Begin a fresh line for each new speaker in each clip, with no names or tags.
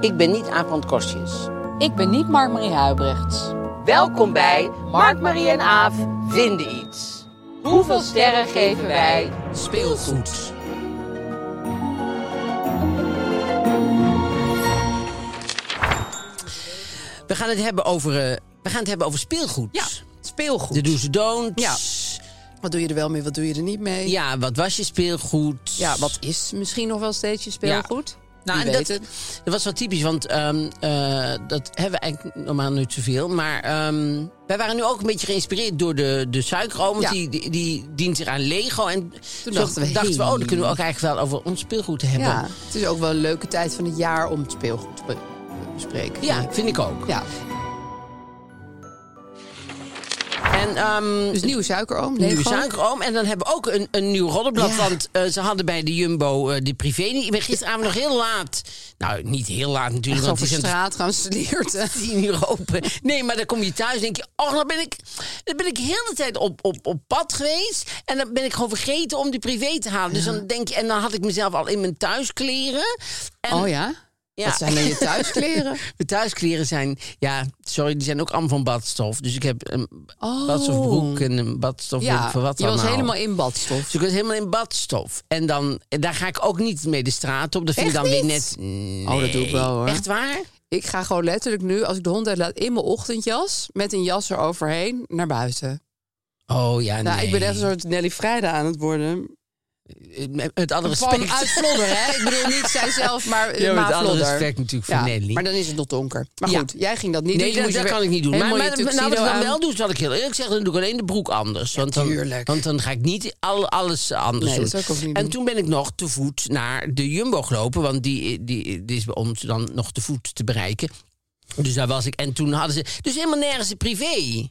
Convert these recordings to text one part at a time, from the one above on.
Ik ben niet Aaf van het Kostjes.
Ik ben niet Mark-Marie Huibrechts.
Welkom bij Mark, Marie en Aaf vinden iets. Hoeveel sterren geven wij speelgoed? We gaan het hebben over, eh, we gaan het hebben over speelgoed.
Ja, speelgoed.
De do's en don'ts.
Ja. Wat doe je er wel mee, wat doe je er niet mee?
Ja, wat was je speelgoed?
Ja, wat is misschien nog wel steeds je speelgoed?
Nou,
Wie
en
weet
dat,
het.
dat was wel typisch, want ehm, eh, dat hebben we eigenlijk normaal niet zoveel. Maar ehm, wij waren nu ook een beetje geïnspireerd door de, de suikeroom. Want
Ja.
die, die, die dient zich aan Lego. En toen
dachten we, hey.
oh, dan kunnen we ook eigenlijk wel over ons speelgoed hebben.
Ja, het is ook wel een leuke tijd van het jaar om het speelgoed te be- bespreken.
Ja, vind ik ook.
ja.
En, ehm,
Dus nieuwe suikeroom,
Nieuwe
Lego.
suikeroom. En dan hebben we ook een, een nieuw roddelblad.
Ja.
Want eh, ze hadden bij de Jumbo eh, de privé niet. Ik ben gisteravond nog heel laat. Nou, niet heel laat natuurlijk.
Echt
want
over
die zijn
straat gaan slierten.
10 uur open. Nee, maar dan kom je thuis en denk je... Oh, dan ben ik, dan ben ik heel de hele tijd op, op, op pad geweest. En dan ben ik gewoon vergeten om die privé te halen. Dus dan denk je... En dan had ik mezelf al in mijn thuiskleren. En
Oh ja?
Ja.
Wat zijn dan je thuiskleren?
Mijn thuiskleren zijn... Ja, sorry, die zijn ook allemaal van badstof. Dus ik heb een badstofbroek en een badstofbroek
Oh. ja,
voor wat
je was
allemaal.
helemaal in badstof.
Dus ik was helemaal in badstof. En dan, en daar ga ik ook niet mee de straat op. Dat vind ik
Echt
dan weer net...
niet? Oh, dat doe
Nee.
ik wel, hoor.
Echt waar?
Ik ga gewoon letterlijk nu, als ik de hond uitlaat, in mijn ochtendjas... met een jas eroverheen naar buiten.
Oh ja,
Nou,
nee.
ik ben echt een soort Nelly Vrijda aan het worden.
Het Eh, andere
Van
respect.
uit Vlodder, hè? Ik bedoel niet zijzelf, maar
Ja,
ja,
met
maar
alle
Vlodder.
respect natuurlijk voor Nelly.
Maar dan is het nog donker. Maar
Ja.
goed, jij ging dat niet
Nee,
doen.
dat,
Moest je
dat
weer
kan ik niet doen. Maar,
helemaal
maar,
je
maar nou, wat ik
tuxedo
dan wel
aan.
doe, zal ik heel eerlijk zeggen... dan doe ik alleen de broek anders. Want dan,
tuurlijk.
Want dan ga ik niet al, alles anders
Nee,
doen.
dat zou ik ook niet
en
doen.
toen ben ik nog te voet naar de Jumbo gelopen. Want die, die, die is bij ons dan nog te voet te bereiken. Dus daar was ik. En toen hadden ze... Dus helemaal nergens een privé.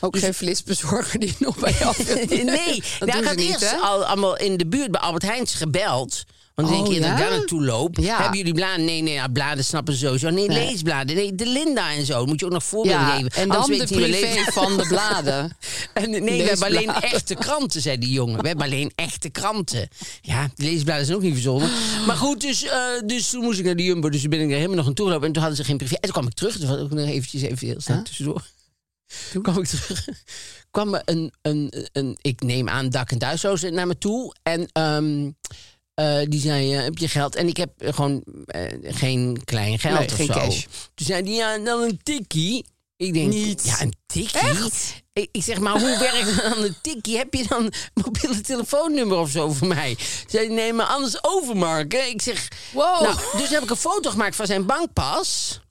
Ook geen flitsbezorger die nog bij jou
nee,
dat
daar
doen ze
gaat
niet,
eerst
hè?
al, allemaal in de buurt bij Albert Heijns gebeld. Want dan
Oh,
denk je, dat
ja?
ik daar naartoe loop.
Ja.
Hebben jullie bladen? Nee, nee, ja, bladen snappen ze sowieso. Nee,
Nee.
leesbladen. Nee, de Linda en zo. Moet je ook nog voorbeelden
Ja,
geven.
en dan
Anders
de
weet hij niet meer
privé
lezen.
van de bladen.
En, nee, we hebben alleen
Leesbladen.
echte kranten, zei die jongen. We hebben alleen echte kranten. Ja, de leesbladen zijn ook niet verzonnen. Maar goed, dus, eh, dus toen moest ik naar de Jumbo. Dus toen ben ik er helemaal nog aan toe gelopen. En toen hadden ze geen privé. En toen kwam ik terug. Toen was ook nog eventjes even heel snel tussendoor. Toen kwam ik terug. kwam er een, een, een, ik neem aan, dak- en thuisloze naar me toe. En ehm, eh, die zei, eh, heb je geld? En ik heb eh, gewoon eh, geen klein geld
Nee,
of
geen
zo.
cash.
Toen zei die, ja, dan een tikkie. Ik denk,
Niet.
ja, een tikkie? Ik, ik zeg, maar hoe werkt dan een tikkie? Heb je dan een mobiele telefoonnummer of zo voor mij? Zei, die, nee, maar anders overmarken. Ik zeg,
Wow.
nou, dus heb ik een foto gemaakt van zijn bankpas.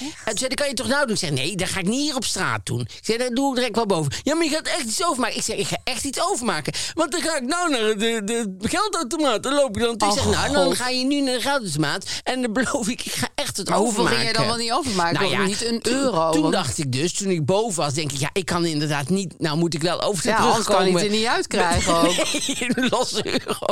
En toen zei dat kan je toch nou doen? Ik zeg, nee, dat ga ik niet hier op straat doen. Ik zei, dat doe ik direct wel boven. Ja, maar je gaat echt iets overmaken. Ik zeg, ik ga echt iets overmaken. Want dan ga ik nou naar de, de geldautomaat. Dan loop ik dan. Ik zeg,
Oh,
nou, dan
God.
ga je nu naar de geldautomaat. En dan beloof ik, ik ga echt het
Maar hoeveel
overmaken.
ging jij dan wel niet overmaken?
Nou ja,
niet een
toen-
euro.
Toen
want-
dacht ik dus, toen ik boven was, denk ik, ja, ik kan inderdaad niet. Nou, moet ik wel over de
ja,
brug
anders kan ik het
komen.
er niet uitkrijgen ook.
Nee, een losse euro.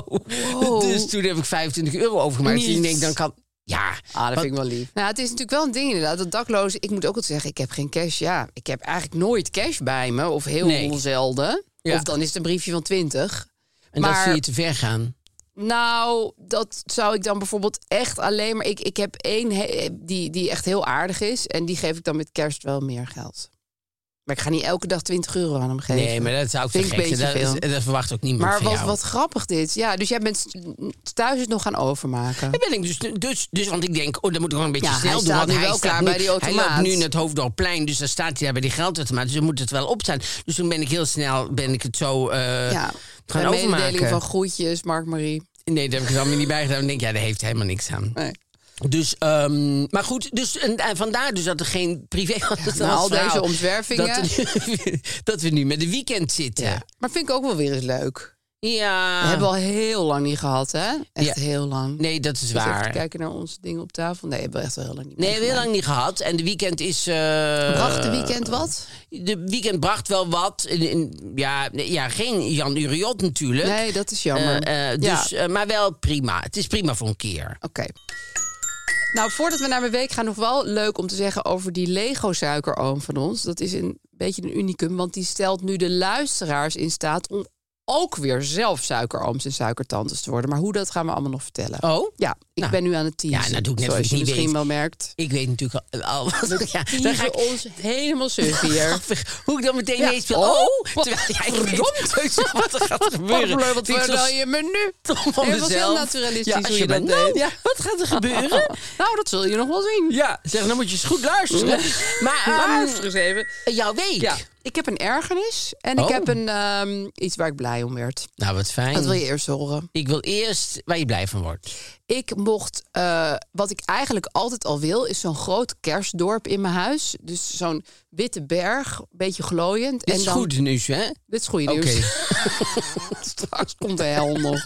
Wow.
Dus toen heb ik 25 euro overgemaakt. Dus ik
Niet.
denk, dan kan... Ja,
Ah, dat
wat-
vind ik wel lief. Nou, het is natuurlijk wel een ding inderdaad. Dat daklozen, ik moet ook altijd zeggen, ik heb geen cash. Ja, ik heb eigenlijk nooit cash bij me. Of heel
Nee.
zelden.
Ja.
Of dan is het een briefje van 20.
En dat
maar-
zie je te ver gaan.
Nou, dat zou ik dan bijvoorbeeld echt alleen maar... Ik, ik heb één he- die, die echt heel aardig is. En die geef ik dan met kerst wel meer geld. Maar ik ga niet elke dag 20 euro aan hem geven.
Nee, maar dat zou ik te
Vind ik
gek
een
zijn.
beetje
Dat,
veel.
is- dat verwacht ook niemand
Maar
van
wat,
jou.
wat grappig dit. Ja, dus jij bent s- thuis het nog gaan overmaken.
Daar ben ik dus, dus, dus, want ik denk, oh, dat moet ik wel een beetje
Ja,
snel
hij
doen.
staat
Want
nu wel klaar bij die
Hij
automaat.
loopt nu in het Hoofddorpplein, dus dan staat hij daar bij die geldautomaat. Dus dan moet het wel op zijn. Dus toen ben ik heel snel, ben ik het zo eh
ja,
gaan
een mededeling
overmaken.
van groetjes, Mark Marie.
Nee, daar heb ik het allemaal niet bij gedaan. Ik denk, ja, daar heeft hij helemaal niks aan.
Nee.
Dus, ehm, maar goed, dus, en, en vandaar dus dat er geen privé was.
na al deze omzwervingen.
Dat, er- dat we nu met de weekend zitten.
Ja.
Ja. Ah.
Maar vind ik ook wel weer eens leuk. We hebben we al heel lang niet gehad, hè? Echt
Ja.
heel lang.
Nee, dat is
Dus even te
waar.
kijken naar onze dingen op tafel. Nee, hebben we echt wel heel lang niet
Nee, hebben we heel lang niet gehad. En de weekend is... eh,
Bracht de weekend wat?
De weekend bracht wel wat. In- in- ja, nee, ja, geen Jan Uriot natuurlijk.
Nee, dat is jammer.
Eh, eh,
Ja.
dus, eh, maar wel prima. Het is prima voor een keer.
Oké. Nou, voordat we naar mijn week gaan, nog wel leuk om te zeggen over die Lego-suikeroom van ons. Dat is een beetje een unicum, want die stelt nu de luisteraars in staat om ook weer zelf suikerooms en suikertantes te worden. Maar hoe dat gaan we allemaal nog vertellen.
Oh?
Ja, ik
Nou.
ben nu aan het teasen.
Ja, nou, doe ik net
zoals
of ik
je
niet
misschien
weet.
wel merkt.
Ik weet natuurlijk al... al ja, dan ga
Teasen
ik
ons helemaal suf hier.
Grappig. Hoe ik dan meteen
Ja.
ineens speel.
Oh,
Oh,
wat
terwijl jij
verdomd.
weet wat er gaat gebeuren.
Pardon, wat
Ik was
vertel je me nu?
stom van
Nee, het was heel
dus mezelf.
naturalistisch
Ja,
hoe
als
je dat
bent, nou,
deed.
ja, wat gaat er gebeuren?
Nou, dat zul je nog wel zien.
Ja, zeg, dan moet je eens goed luisteren. Maar ehm,
Luister eens even.
jouw week.
Ja. Ik heb een ergernis en ik
Oh.
heb een, ehm, iets waar ik blij om werd.
Nou, wat fijn.
Dat wil je eerst horen.
Ik wil eerst waar je blij van wordt.
Ik mocht, eh, wat ik eigenlijk altijd al wil, is zo'n groot kerstdorp in mijn huis. Dus zo'n witte berg, een beetje glooiend.
Dit
en
is
dan,
goed nieuws, hè?
Dit is goed nieuws. Straks komt de hel nog.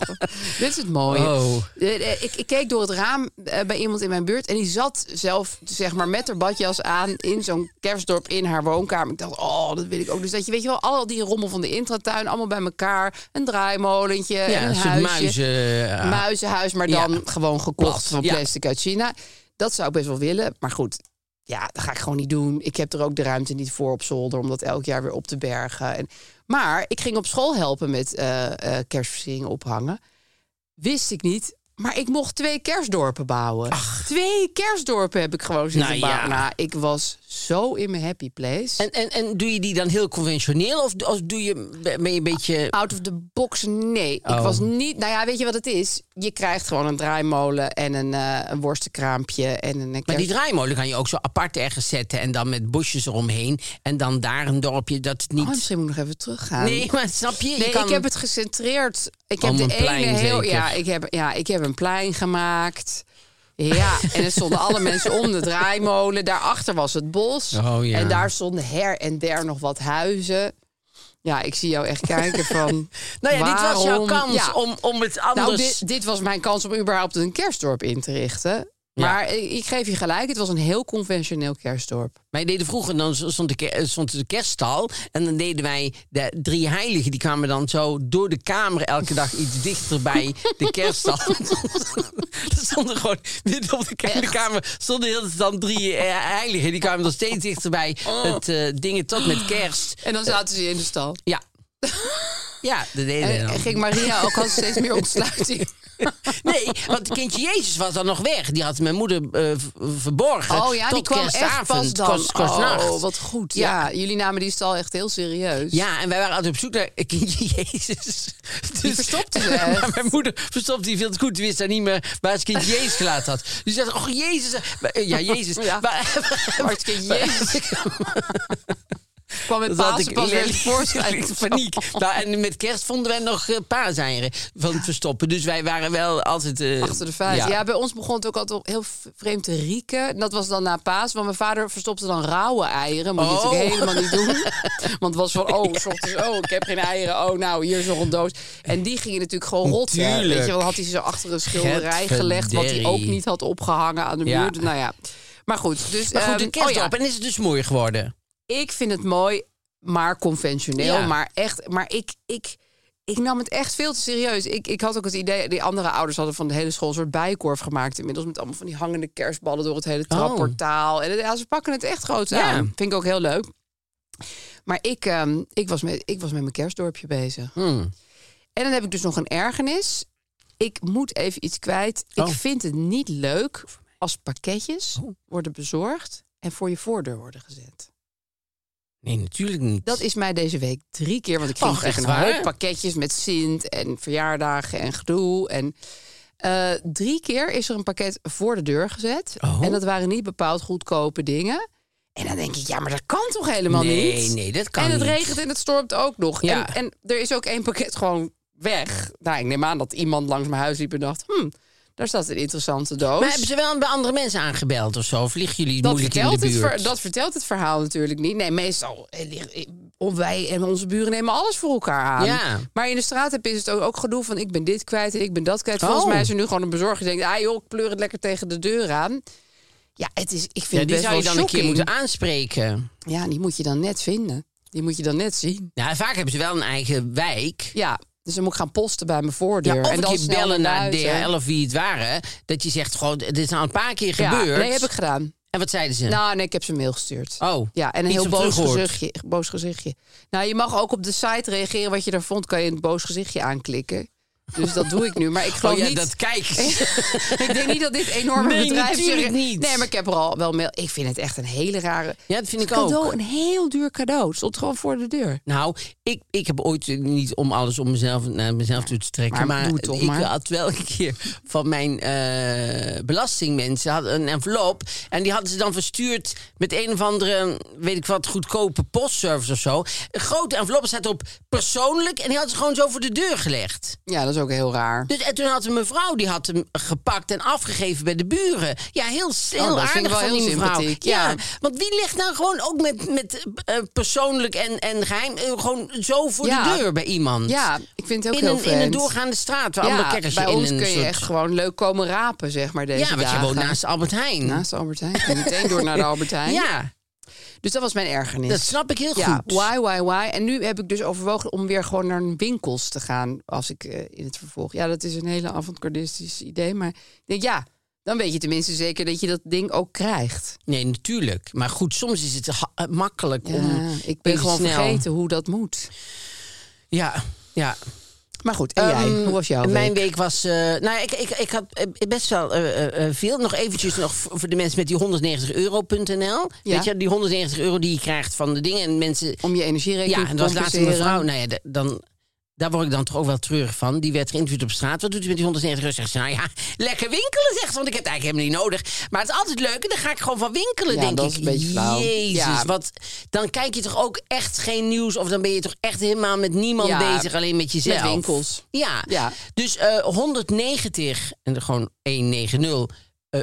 Dit is het mooie.
Oh.
Eh, eh, Ik, ik keek door het raam eh, bij iemand in mijn buurt. En die zat zelf zeg maar, met haar badjas aan in zo'n kerstdorp in haar woonkamer. Ik dacht, oh, dat wil ik ook. Dus dat je, weet je wel, al die rommel van de intratuin, allemaal bij elkaar. Een draaimolentje,
Ja,
een
een soort
huisje.
muizen. ah.
Muizenhuis, maar dan
Ja.
gewoon gekocht
Plat,
van
ja.
plastic uit China. Dat zou ik best wel willen. Maar goed, ja, dat ga ik gewoon niet doen. Ik heb er ook de ruimte niet voor op zolder om dat elk jaar weer op te bergen. En, maar ik ging op school helpen met eh eh, kerstversieringen ophangen. Wist ik niet. Maar ik mocht twee kerstdorpen bouwen. Twee kerstdorpen heb ik gewoon zitten
Nou ja.
bouwen. Nou, ik was zo in mijn happy place.
En, en, en doe je die dan heel conventioneel? Of, of doe je, ben je een beetje...
Out of the box, nee. Ik
Oh.
was niet... Nou ja, weet je wat het is? Je krijgt gewoon een draaimolen en een, eh, een worstenkraampje en een
Maar die
kerst-
draaimolen kan je ook zo apart ergens zetten en dan met bosjes eromheen. En dan daar een dorpje dat het niet.
Oh, misschien moet ik nog even teruggaan.
nee, maar snap je?
Nee,
je kan...
ik heb het gecentreerd. Ik heb
Om
de
een
ene
plein
heel...
zeker.
Ja ik, heb, ja, ik heb een plein gemaakt. Ja, en er stonden alle mensen om de draaimolen. Daarachter was het bos.
Oh, ja.
En daar stonden her en der nog wat huizen. Ja, ik zie jou echt kijken van...
Nou ja, dit was jouw
waarom-
kans
Ja.
om, om het anders.
Nou, dit, dit was mijn kans om überhaupt een kerstdorp in te richten. Maar ik, ik geef je gelijk, het was een heel conventioneel kerstdorp.
Wij deden vroeger dan stond de, ker- eh, stond de kerststal. En dan deden wij de drie heiligen. Die kwamen dan zo door de kamer elke dag iets dichter bij de kerststal. er stonden gewoon midden op de kleine kamer. Stonden heel de tijd dan drie eh, heiligen. Die kwamen dan steeds dichterbij
Oh.
het eh, dingen tot met kerst.
En dan zaten ze in de stal.
Ja. ja, dat deden we
En,
dan.
en Eh, ging Maria ook al steeds meer ontsluiting.
Nee, want kindje Jezus was dan nog weg. Die had mijn moeder eh, v- verborgen.
Oh ja,
tot
die kwam echt
kerstavond,
pas dan.
Kost, kost
oh,
nacht.
wat goed. Ja.
Ja.
jullie namen die stal echt heel serieus.
Ja, en wij waren altijd op zoek naar eh, kindje Jezus. Dus,
verstopte ze echt.
Maar mijn moeder verstopte die veel te goed. Die wist daar niet meer waar ze kindje Jezus gelaten had. Dus ze dacht, oh Jezus. eh, maar, eh, Ja, Jezus.
Ja.
Waar-
Maar het kind Jezus kwam met
Dat had
Pasen
ik
pas weer
lelijk-
voorstelling.
lelijk paniek. Nou, en met kerst vonden wij nog eh, paaseieren van het verstoppen. Dus wij waren wel altijd... eh,
Achter de vuist. Ja. bij ons begon het ook altijd op heel v- vreemd te rieken. En dat was dan na paas, want mijn vader verstopte dan rauwe eieren. Moet je
Oh.
natuurlijk helemaal niet doen. Want het was van, oh, s ochtends, oh, ik heb geen eieren. Oh, nou, hier is nog een doos. En die gingen natuurlijk gewoon rotten.
Tuurlijk.
Weet je, wel, dan had hij ze zo achter een schilderij gelegd, wat hij ook
Getverderrie.
niet had opgehangen aan de
Ja.
muur. Nou ja. Maar goed, dus...
Maar goed,
ehm,
de
oh
kerst
ja.
op en is het dus mooi geworden.
ik vind het mooi, maar conventioneel.
Ja.
Maar echt, maar ik, ik, ik nam het echt veel te serieus. Ik, ik had ook het idee, die andere ouders hadden van de hele school een soort bijkorf gemaakt. Inmiddels met allemaal van die hangende kerstballen door het hele trapportaal. En het- ja, ze pakken het echt groot
Oh. Ja.
aan. Vind ik ook heel leuk. Maar ik, ehm, ik, was met, ik was met mijn kerstdorpje bezig.
Hmm.
En dan heb ik dus nog een ergernis. Ik moet even iets kwijt.
Oh.
Ik vind het niet leuk als pakketjes worden bezorgd en voor je voordeur worden gezet.
Nee, natuurlijk niet.
Dat is mij deze week drie keer. Want ik kreeg
Och,
echt
echt
een
waar?
hoop pakketjes met Sint en verjaardagen en gedoe. En eh, drie keer is er een pakket voor de deur gezet.
Oh.
En dat waren niet bepaald goedkope dingen. En dan denk ik, ja, maar dat kan toch helemaal
nee,
niet?
nee, dat kan
en het
niet.
regent en het stormt ook nog.
Ja.
En, en er is ook één pakket gewoon weg. Nou, ik neem aan dat iemand langs mijn huis liep en dacht... Hm, daar staat een interessante doos.
Maar hebben ze wel bij andere mensen aangebeld of zo? Of liggen jullie
dus- dat
moeilijk in de
vertelt, het
buurt?
ver- dat vertelt het verhaal natuurlijk niet. Nee, meestal eh, lig- eh, of wij en onze buren nemen alles voor elkaar aan.
Ja.
Maar in de straat heb je het ook, ook gedoe van ik ben dit kwijt en ik ben dat kwijt. Volgens
Oh.
mij is er nu gewoon een bezorger die denkt... ah joh, ik pleur het lekker tegen de deur aan. Ja, het is, ik vind
Ja,
het
die
best
zou je
wel
dan een keer
shocking.
moeten aanspreken.
Ja, die moet je dan net vinden. Die moet je dan net zien.
Nou, vaak hebben ze wel een eigen wijk.
Ja, dus dan moet ik gaan posten bij mijn voordeur.
Ja, of
en dan
een keer
snel
bellen naar
huis, hè.
DHL of wie het waren. Dat je zegt, gewoon, dit is nou een paar keer
Ja,
gebeurd.
nee, heb ik gedaan.
En wat zeiden ze?
Nou, nee, ik heb ze een mail gestuurd.
Oh,
Ja, en een
niets
heel
op
boos
teruggehoord.
gezichtje, boos gezichtje. Nou, je mag ook op de site reageren wat je daar vond. Kan je een boos gezichtje aanklikken. Dus dat doe ik nu. Maar ik
Oh
geloof
ja,
niet...
dat kijken ze.
ik denk niet dat dit enorme
Nee,
bedrijf...
natuurlijk niet.
Nee, maar ik heb er al wel mail... Ik vind het echt een hele rare...
Ja, dat vind ik ook.
cadeau, Een heel duur cadeau. Het stond gewoon voor de deur.
Nou, ik, ik heb ooit eh, niet om alles om mezelf, naar mezelf toe te trekken.
Maar
Maar,
doe het toch
ik
maar.
had wel een keer van mijn eh, belastingmensen hadden een envelop. En die hadden ze dan verstuurd met een of andere, weet ik wat, goedkope postservice of zo. Een grote envelop staat op persoonlijk. En die hadden ze gewoon zo voor de deur gelegd.
Ja, dat is ook heel raar.
Dus, en toen had een mevrouw, die had hem gepakt en afgegeven bij de buren. Ja, heel, s- heel
Oh, dat vind
aardig
ik wel
van
heel
die mevrouw.
sympathiek,
Ja.
ja.
want wie legt nou gewoon ook met, met eh, persoonlijk en, en geheim... eh, gewoon zo voor
Ja.
de deur bij iemand?
Ja, ik vind het ook
in,
heel
een, in een
vreemd.
doorgaande straat. Waar andere
Ja,
kerkers
bij
in
ons
een
kun je
soort-
echt gewoon leuk komen rapen, zeg maar, deze
Ja, want je
dagen.
woont naast Albert Heijn.
Naast de Albert Heijn. En meteen door naar de Albert Heijn.
Ja,
Dus dat was mijn ergernis.
dat snap ik heel
Ja,
goed.
why, why, why. En nu heb ik dus overwogen om weer gewoon naar een winkels te gaan als ik eh, in het vervolg. Ja, dat is een hele avondcardistisch idee, maar ik denk ja, dan weet je tenminste zeker dat je dat ding ook krijgt.
Nee, natuurlijk. Maar goed, soms is het ha- eh, makkelijk
Ja,
om...
ik ben
even
gewoon
snel-
vergeten hoe dat moet.
Ja, ja.
Maar goed, en jij?
Ehm,
Hoe was jouw
Mijn
week?
week was... eh, nou, ik, ik, ik had eh, best wel eh, eh, eh, veel. Nog eventjes nog voor voor de mensen met die 190 euro.nl.
Ja.
Weet je, die 190 euro die je krijgt van de dingen. En mensen...
Om je energierekening
Ja,
te
en dat was laatst een
compenseren.
mevrouw. Nou ja, d- dan... Daar word ik dan toch ook wel treurig van. Die werd geïnterviewd op straat. Wat doet u met die 190 euro? Zegt ze, nou ja, lekker winkelen, zegt ze. Want ik heb het eigenlijk helemaal niet nodig. Maar het is altijd leuk. En dan ga ik gewoon van winkelen,
Ja,
denk
dat
ik.
is een beetje flauw.
Jezus,
Ja.
wat... Dan kijk je toch ook echt geen nieuws. Of dan ben je toch echt helemaal met niemand
Ja,
bezig. Alleen met jezelf.
met winkels.
Ja.
Ja.
Dus eh, 190 en dan gewoon 190 eh,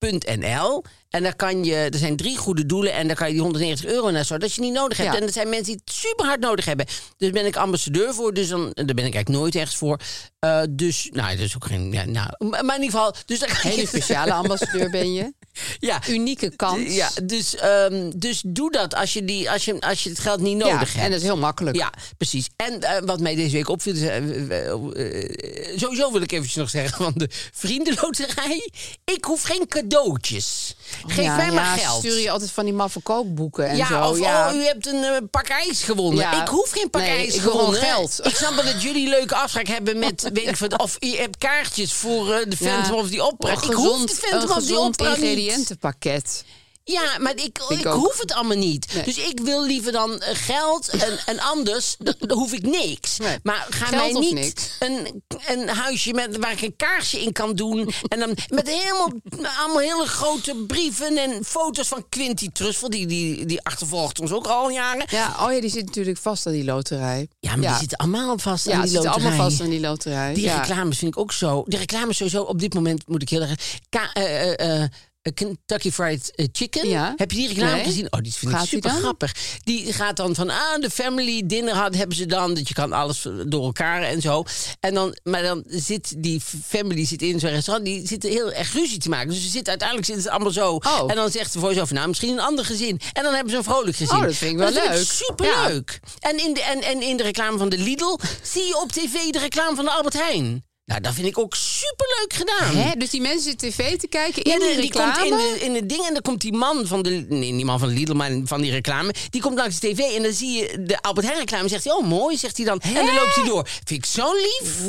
euro.nl. En dan kan je, er zijn drie goede doelen en dan kan je die 190 euro naar zo. Dat je niet nodig hebt.
Ja.
En er zijn mensen die het super hard nodig hebben. Dus ben ik ambassadeur voor. Dus dan, daar ben ik eigenlijk nooit ergens voor. Eh, dus, nou, dat is ook geen. Ja, nou, maar maar in ieder geval. Dus dan kan
Hele
je-
speciale ambassadeur ben je.
Ja.
Unieke kans.
Ja, dus, ehm, dus doe dat als je, die, als, je, als je het geld niet nodig
Ja,
hebt.
en dat is heel makkelijk.
Ja, precies. En eh, wat mij deze week opviel, is, eh, we- we- eh, sowieso wil ik eventjes nog zeggen van de vriendenloterij. Ik hoef geen cadeautjes. Geef
Ja,
mij maar
ja,
geld.
stuur je altijd van die maffe kookboeken en
ja,
zo.
of
ja.
oh, u hebt een eh, pak ijs gewonnen.
Ja.
Ik hoef geen pak
Nee,
ijs
ik wil
gewonnen.
gewoon geld.
Ik snap wel dat jullie een leuke afspraak hebben met, weet ik wat, of je hebt kaartjes voor eh, de
Ja.
Phantom of die Opera.
Een
ik hoef
gezond-
de Phantom
een
of die
gezond
Opera niet.
ingrediëntenpakket.
Ja, maar ik, ik,
Ik ook.
hoef het allemaal niet.
Nee.
Dus ik wil liever dan eh, geld en, en anders dan dan hoef ik niks.
Nee.
Maar ga
Geld
mij
of
niet
niks.
Een, een huisje met, waar ik een kaarsje in kan doen. en dan met helemaal, allemaal hele grote brieven en foto's van Quinty Trussel. Die, die, die achtervolgt ons ook al jaren.
Ja, oh ja, die zit natuurlijk vast aan die loterij.
Ja, maar die zitten allemaal vast
ja,
aan die
die zitten
loterij.
allemaal vast aan die loterij.
Die
ja.
reclames vind ik ook zo. De reclames sowieso op dit moment moet ik heel erg. Ka- eh, eh, eh, Kentucky Fried eh, Chicken.
Ja.
Heb je die reclame
Nee.
gezien? Oh, die vind
Gaat
ik
die
super
dan?
grappig. Die gaat dan van ah, de family dinner had, hebben ze dan. Dat je kan alles door elkaar en zo. En dan, maar dan zit die family zit in zo'n restaurant. Die zitten heel erg ruzie te maken. Dus ze zitten, uiteindelijk zitten ze allemaal zo.
Oh.
En dan zegt de voice over, nou, misschien een ander gezin. En dan hebben ze een vrolijk gezin.
Oh, dat vind ik wel leuk.
superleuk. En, in de, en, en in de reclame van de Lidl zie je op tv de reclame van de Albert Heijn. Nou, dat vind ik ook superleuk gedaan.
Hè? Dus die mensen zitten tv te kijken
Ja,
in
de-
die
die komt
reclame.
in, de, in het ding en dan komt die man van de... Nee, niet man van Lidl, maar van die reclame. Die komt langs de tv en dan zie je de Albert Heijn reclame. Zegt hij, oh mooi, zegt hij dan. En dan loopt hij door. Vind ik zo lief.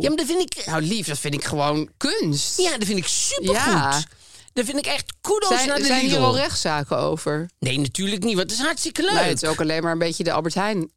Ja, maar dat vind ik...
Nou lief, dat vind ik gewoon kunst.
Ja, dat vind ik supergoed.
Ja.
Dat vind ik echt kudos naar
Zijn,
de
zijn hier
Lidl.
al rechtszaken over?
Nee, natuurlijk niet, want het is hartstikke leuk.
Nee, het is ook alleen maar een beetje de Albert Heijn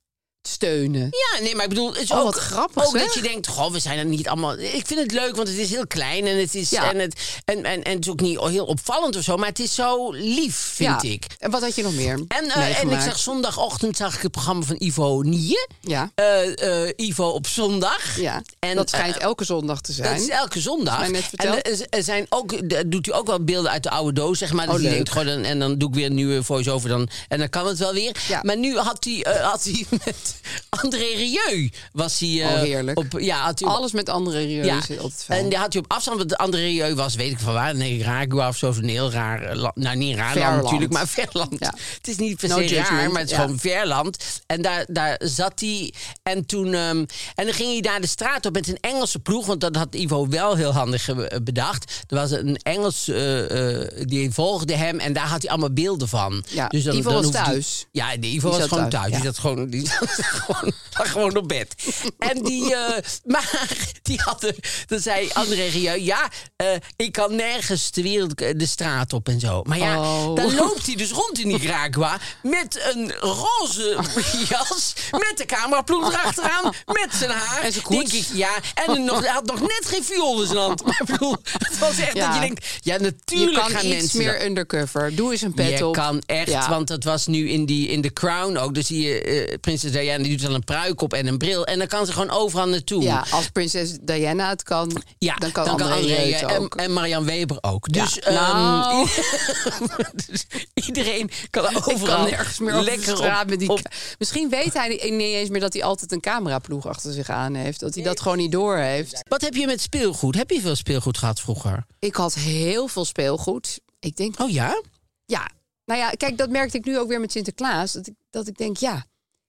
steunen.
Ja, nee, maar ik bedoel, het is
Oh,
ook,
wat grappig,
ook dat
zeg.
je denkt, goh, we zijn er niet allemaal... Ik vind het leuk, want het is heel klein en het is,
Ja.
en het, en, en, en het is ook niet heel opvallend of zo, maar het is zo lief, vind
Ja.
ik.
En wat had je nog meer
En, eh, en ik
meegemaakt?
zag zondagochtend zag ik het programma van Ivo Nieën.
Ja.
Eh, eh, Ivo op zondag.
Ja,
en,
dat schijnt
eh,
elke zondag te zijn.
Dat is elke zondag.
Is mij net
en
verteld.
eh, er zijn ook, er doet u ook wel beelden uit de oude doos, zeg maar. Dus
Oh,
die
leuk.
denkt, goh, dan, en dan doe ik weer een nieuwe voice-over. Dan, en dan kan het wel weer.
Ja.
Maar nu had hij, eh, had hij met André Rieu... Was hij, eh,
Oh, heerlijk.
Op, ja, had hij op-
Alles met andere reunies
ja,
is altijd fijn.
en die had hij op afstand, want André Rieu was, weet ik van waar, Nicaragua of zo, zo'n heel raar eh, land. Nou, niet raar
Ver
land
land.
natuurlijk, maar ver land.
Ja.
Het is niet per se
No judgment,
raar, maar het is
ja.
gewoon ver land. En daar, daar zat hij en toen ehm, en dan ging hij daar de straat op met een Engelse ploeg, want dat had Ivo wel heel handig eh, bedacht. Er was een Engels, eh, eh, die volgde hem en daar had hij allemaal beelden van. Dus
Ja, Ivo was
hoefde hij-
thuis.
ja, de Ivo
Die
was
zat
gewoon
thuis,
thuis.
ja.
Die zat gewoon, die zat gewoon, lag gewoon op bed. En die, eh, maar die had er, dan zei André Rieu, ja, eh, ik kan nergens de wereld, de straat op en zo. Maar ja,
Oh.
dan loopt hij dus rond in Nicaragua met een roze jas, met de cameraploeg erachteraan, met zijn haar.
En zijn koets.
Denk ik, ja, en nog, hij had nog net geen viool in zijn hand. Maar ik bedoel, het was echt
Ja.
dat je denkt, ja,
je
natuurlijk
kan
gaan
iets
mensen
meer
dat-
undercover. Doe eens een pet
je
op.
kan echt,
Ja.
want dat was nu in, die, in The Crown ook. Dus zie je eh, prinses Diana, die doet dan een pruik op en een bril. En dan kan ze gewoon overal naartoe.
Ja, als prinses Diana het kan,
Ja,
dan kan André,
André eh,
het
en,
ook.
en Marianne Weber ook.
Ja,
Dus, ehm,
nou.
dus iedereen kan
Ik
eh, overal
kan nergens meer op de
lekker
straat
op-
met die...
op-
ka- Misschien weet hij niet eens meer dat hij altijd een cameraploeg achter zich aan heeft. Dat hij dat gewoon niet door heeft.
Wat heb je met speelgoed? Heb je veel speelgoed gehad vroeger?
Ik had heel veel speelgoed. Ik denk,
Oh ja?
ja. Nou ja, kijk, dat merkte ik nu ook weer met Sinterklaas. Dat ik, dat ik denk, ja,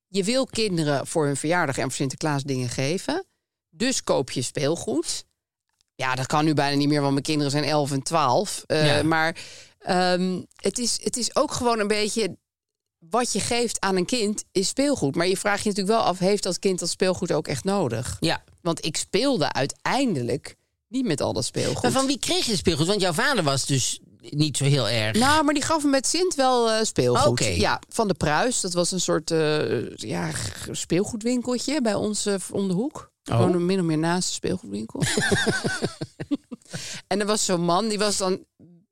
je wil kinderen voor hun verjaardag en voor Sinterklaas dingen geven. Dus koop je speelgoed. Ja, dat kan nu bijna niet meer, want mijn kinderen zijn 11 en 12. Eh,
Ja.
Maar ehm, het, is, het is ook gewoon een beetje. Wat je geeft aan een kind is speelgoed. Maar je vraagt je natuurlijk wel af: heeft dat kind dat speelgoed ook echt nodig?
Ja.
Want ik speelde uiteindelijk niet met al dat speelgoed.
Maar van wie kreeg je speelgoed? Want jouw vader was dus niet zo heel erg.
Nou, maar die gaf me met Sint wel eh, speelgoed.
Oké.
Ja, van de Pruis. Dat was een soort eh, ja, g- speelgoedwinkeltje bij ons eh, om de hoek.
Oh.
Gewoon een min of meer naast de speelgoedwinkel. en er was zo'n man, die was dan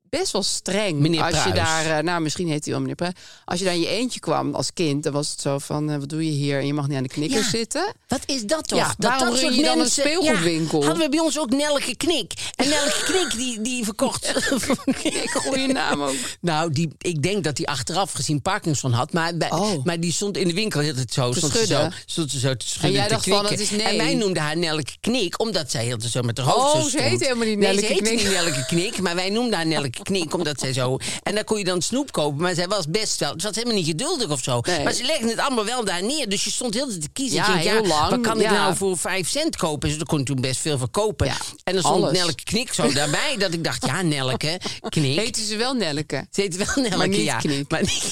best wel streng.
Meneer
als je
Pruis.
daar, eh, nou misschien heet hij wel meneer Pruis. Als je daar in je eentje kwam als kind, dan was het zo van, eh, wat doe je hier? En je mag niet aan de knikker
Ja.
zitten.
Wat is dat toch?
Ja,
dat
waarom
dat
run
soort
je dan een
mensen-
speelgoedwinkel?
Ja, hadden we bij ons ook Nelke Knik. En Nelke Knik die, die verkocht...
Ik goede naam ook.
nou, die, ik denk dat hij achteraf gezien Parkinson had. Maar, bij-
Oh.
maar die stond in de winkel heel het zo.
Te
Stond ze zo,
schudden.
stond ze zo te schudden,
jij
te
dacht van,
knikken.
dat is nee.
En wij noemden haar Nelke Knik, omdat zij heel te zo met haar hoofd zo
Oh, ze
stond.
heette helemaal niet
nee,
Nelke
ze heette
Knik.
niet Nelke Knik. Maar wij noemden haar Nelke Knik, omdat zij zo... En daar kon je dan snoep kopen. Maar zij was best wel... Ze was helemaal niet geduldig of zo.
Nee.
Maar ze legde het allemaal wel daar neer. Dus je stond heel de tijd te kiezen.
Ja,
Ik denk,
heel lang,
Wat kan ik
ja.
nou voor 5 cent kopen. Dus daar kon ik toen best veel voor kopen.
Ja,
en dan stond
alles.
Nelke Knik zo daarbij. Dat ik dacht, ja, Nelke, Knik.
Heette ze wel Nelleke?
ze heet wel Nelke,
Maar niet
ja.
Knik.
Maar niet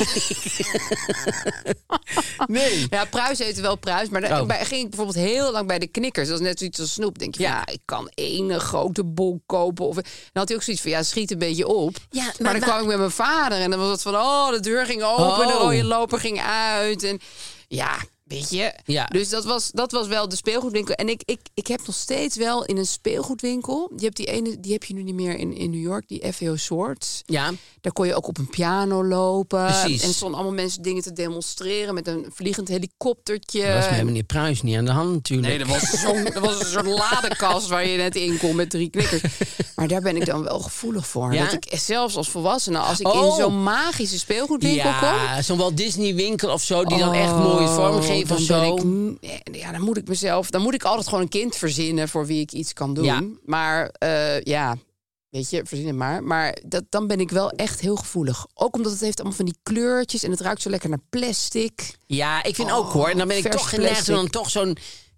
nee.
Ja, pruis heette wel pruis, maar daar
Oh.
bij- ging ik bijvoorbeeld heel lang bij de knikkers. Dat was net zoiets als snoep. Denk je,
Ja.
ja, ik kan één grote bol kopen. Of, dan had hij ook zoiets van, ja, schiet een beetje op.
Ja,
maar,
maar
dan
wa-
kwam ik met mijn vader en dan was het van, oh, de deur ging open, de
Oh.
rode loper ging uit. En ja, weet je.
Ja.
Dus dat was, dat was wel de speelgoedwinkel. En ik, ik, ik heb nog steeds wel in een speelgoedwinkel, je hebt die ene, die heb je nu niet meer in, in New York, die FAO Swords.
Ja,
Daar kon je ook op een piano lopen.
Precies.
En er stonden allemaal mensen dingen te demonstreren met een vliegend helikoptertje.
dat was met meneer Pruis niet aan de hand natuurlijk.
Nee, dat was, zo'n- dat was een soort ladekast waar je net in kon met drie knikkers. Maar daar ben ik dan wel gevoelig voor.
Ja?
Dat ik zelfs als volwassene, als ik in
Oh.
zo'n magische speelgoedwinkel kom...
Ja, zo'n Walt Disney winkel of zo, die dan echt mooi
oh,
vormgeven
dan
of zo.
ben ik- ja, dan moet ik mezelf... Dan moet ik altijd gewoon een kind verzinnen voor wie ik iets kan doen.
Ja.
Maar eh, ja, weet je, verzin het maar. Maar dat, dan ben ik wel echt heel gevoelig. Ook omdat het heeft allemaal van die kleurtjes... en het ruikt zo lekker naar plastic.
Ja, ik vind ook hoor. En dan ben ik
Oh, vers
toch geneigd om
plastic.
dan toch zo'n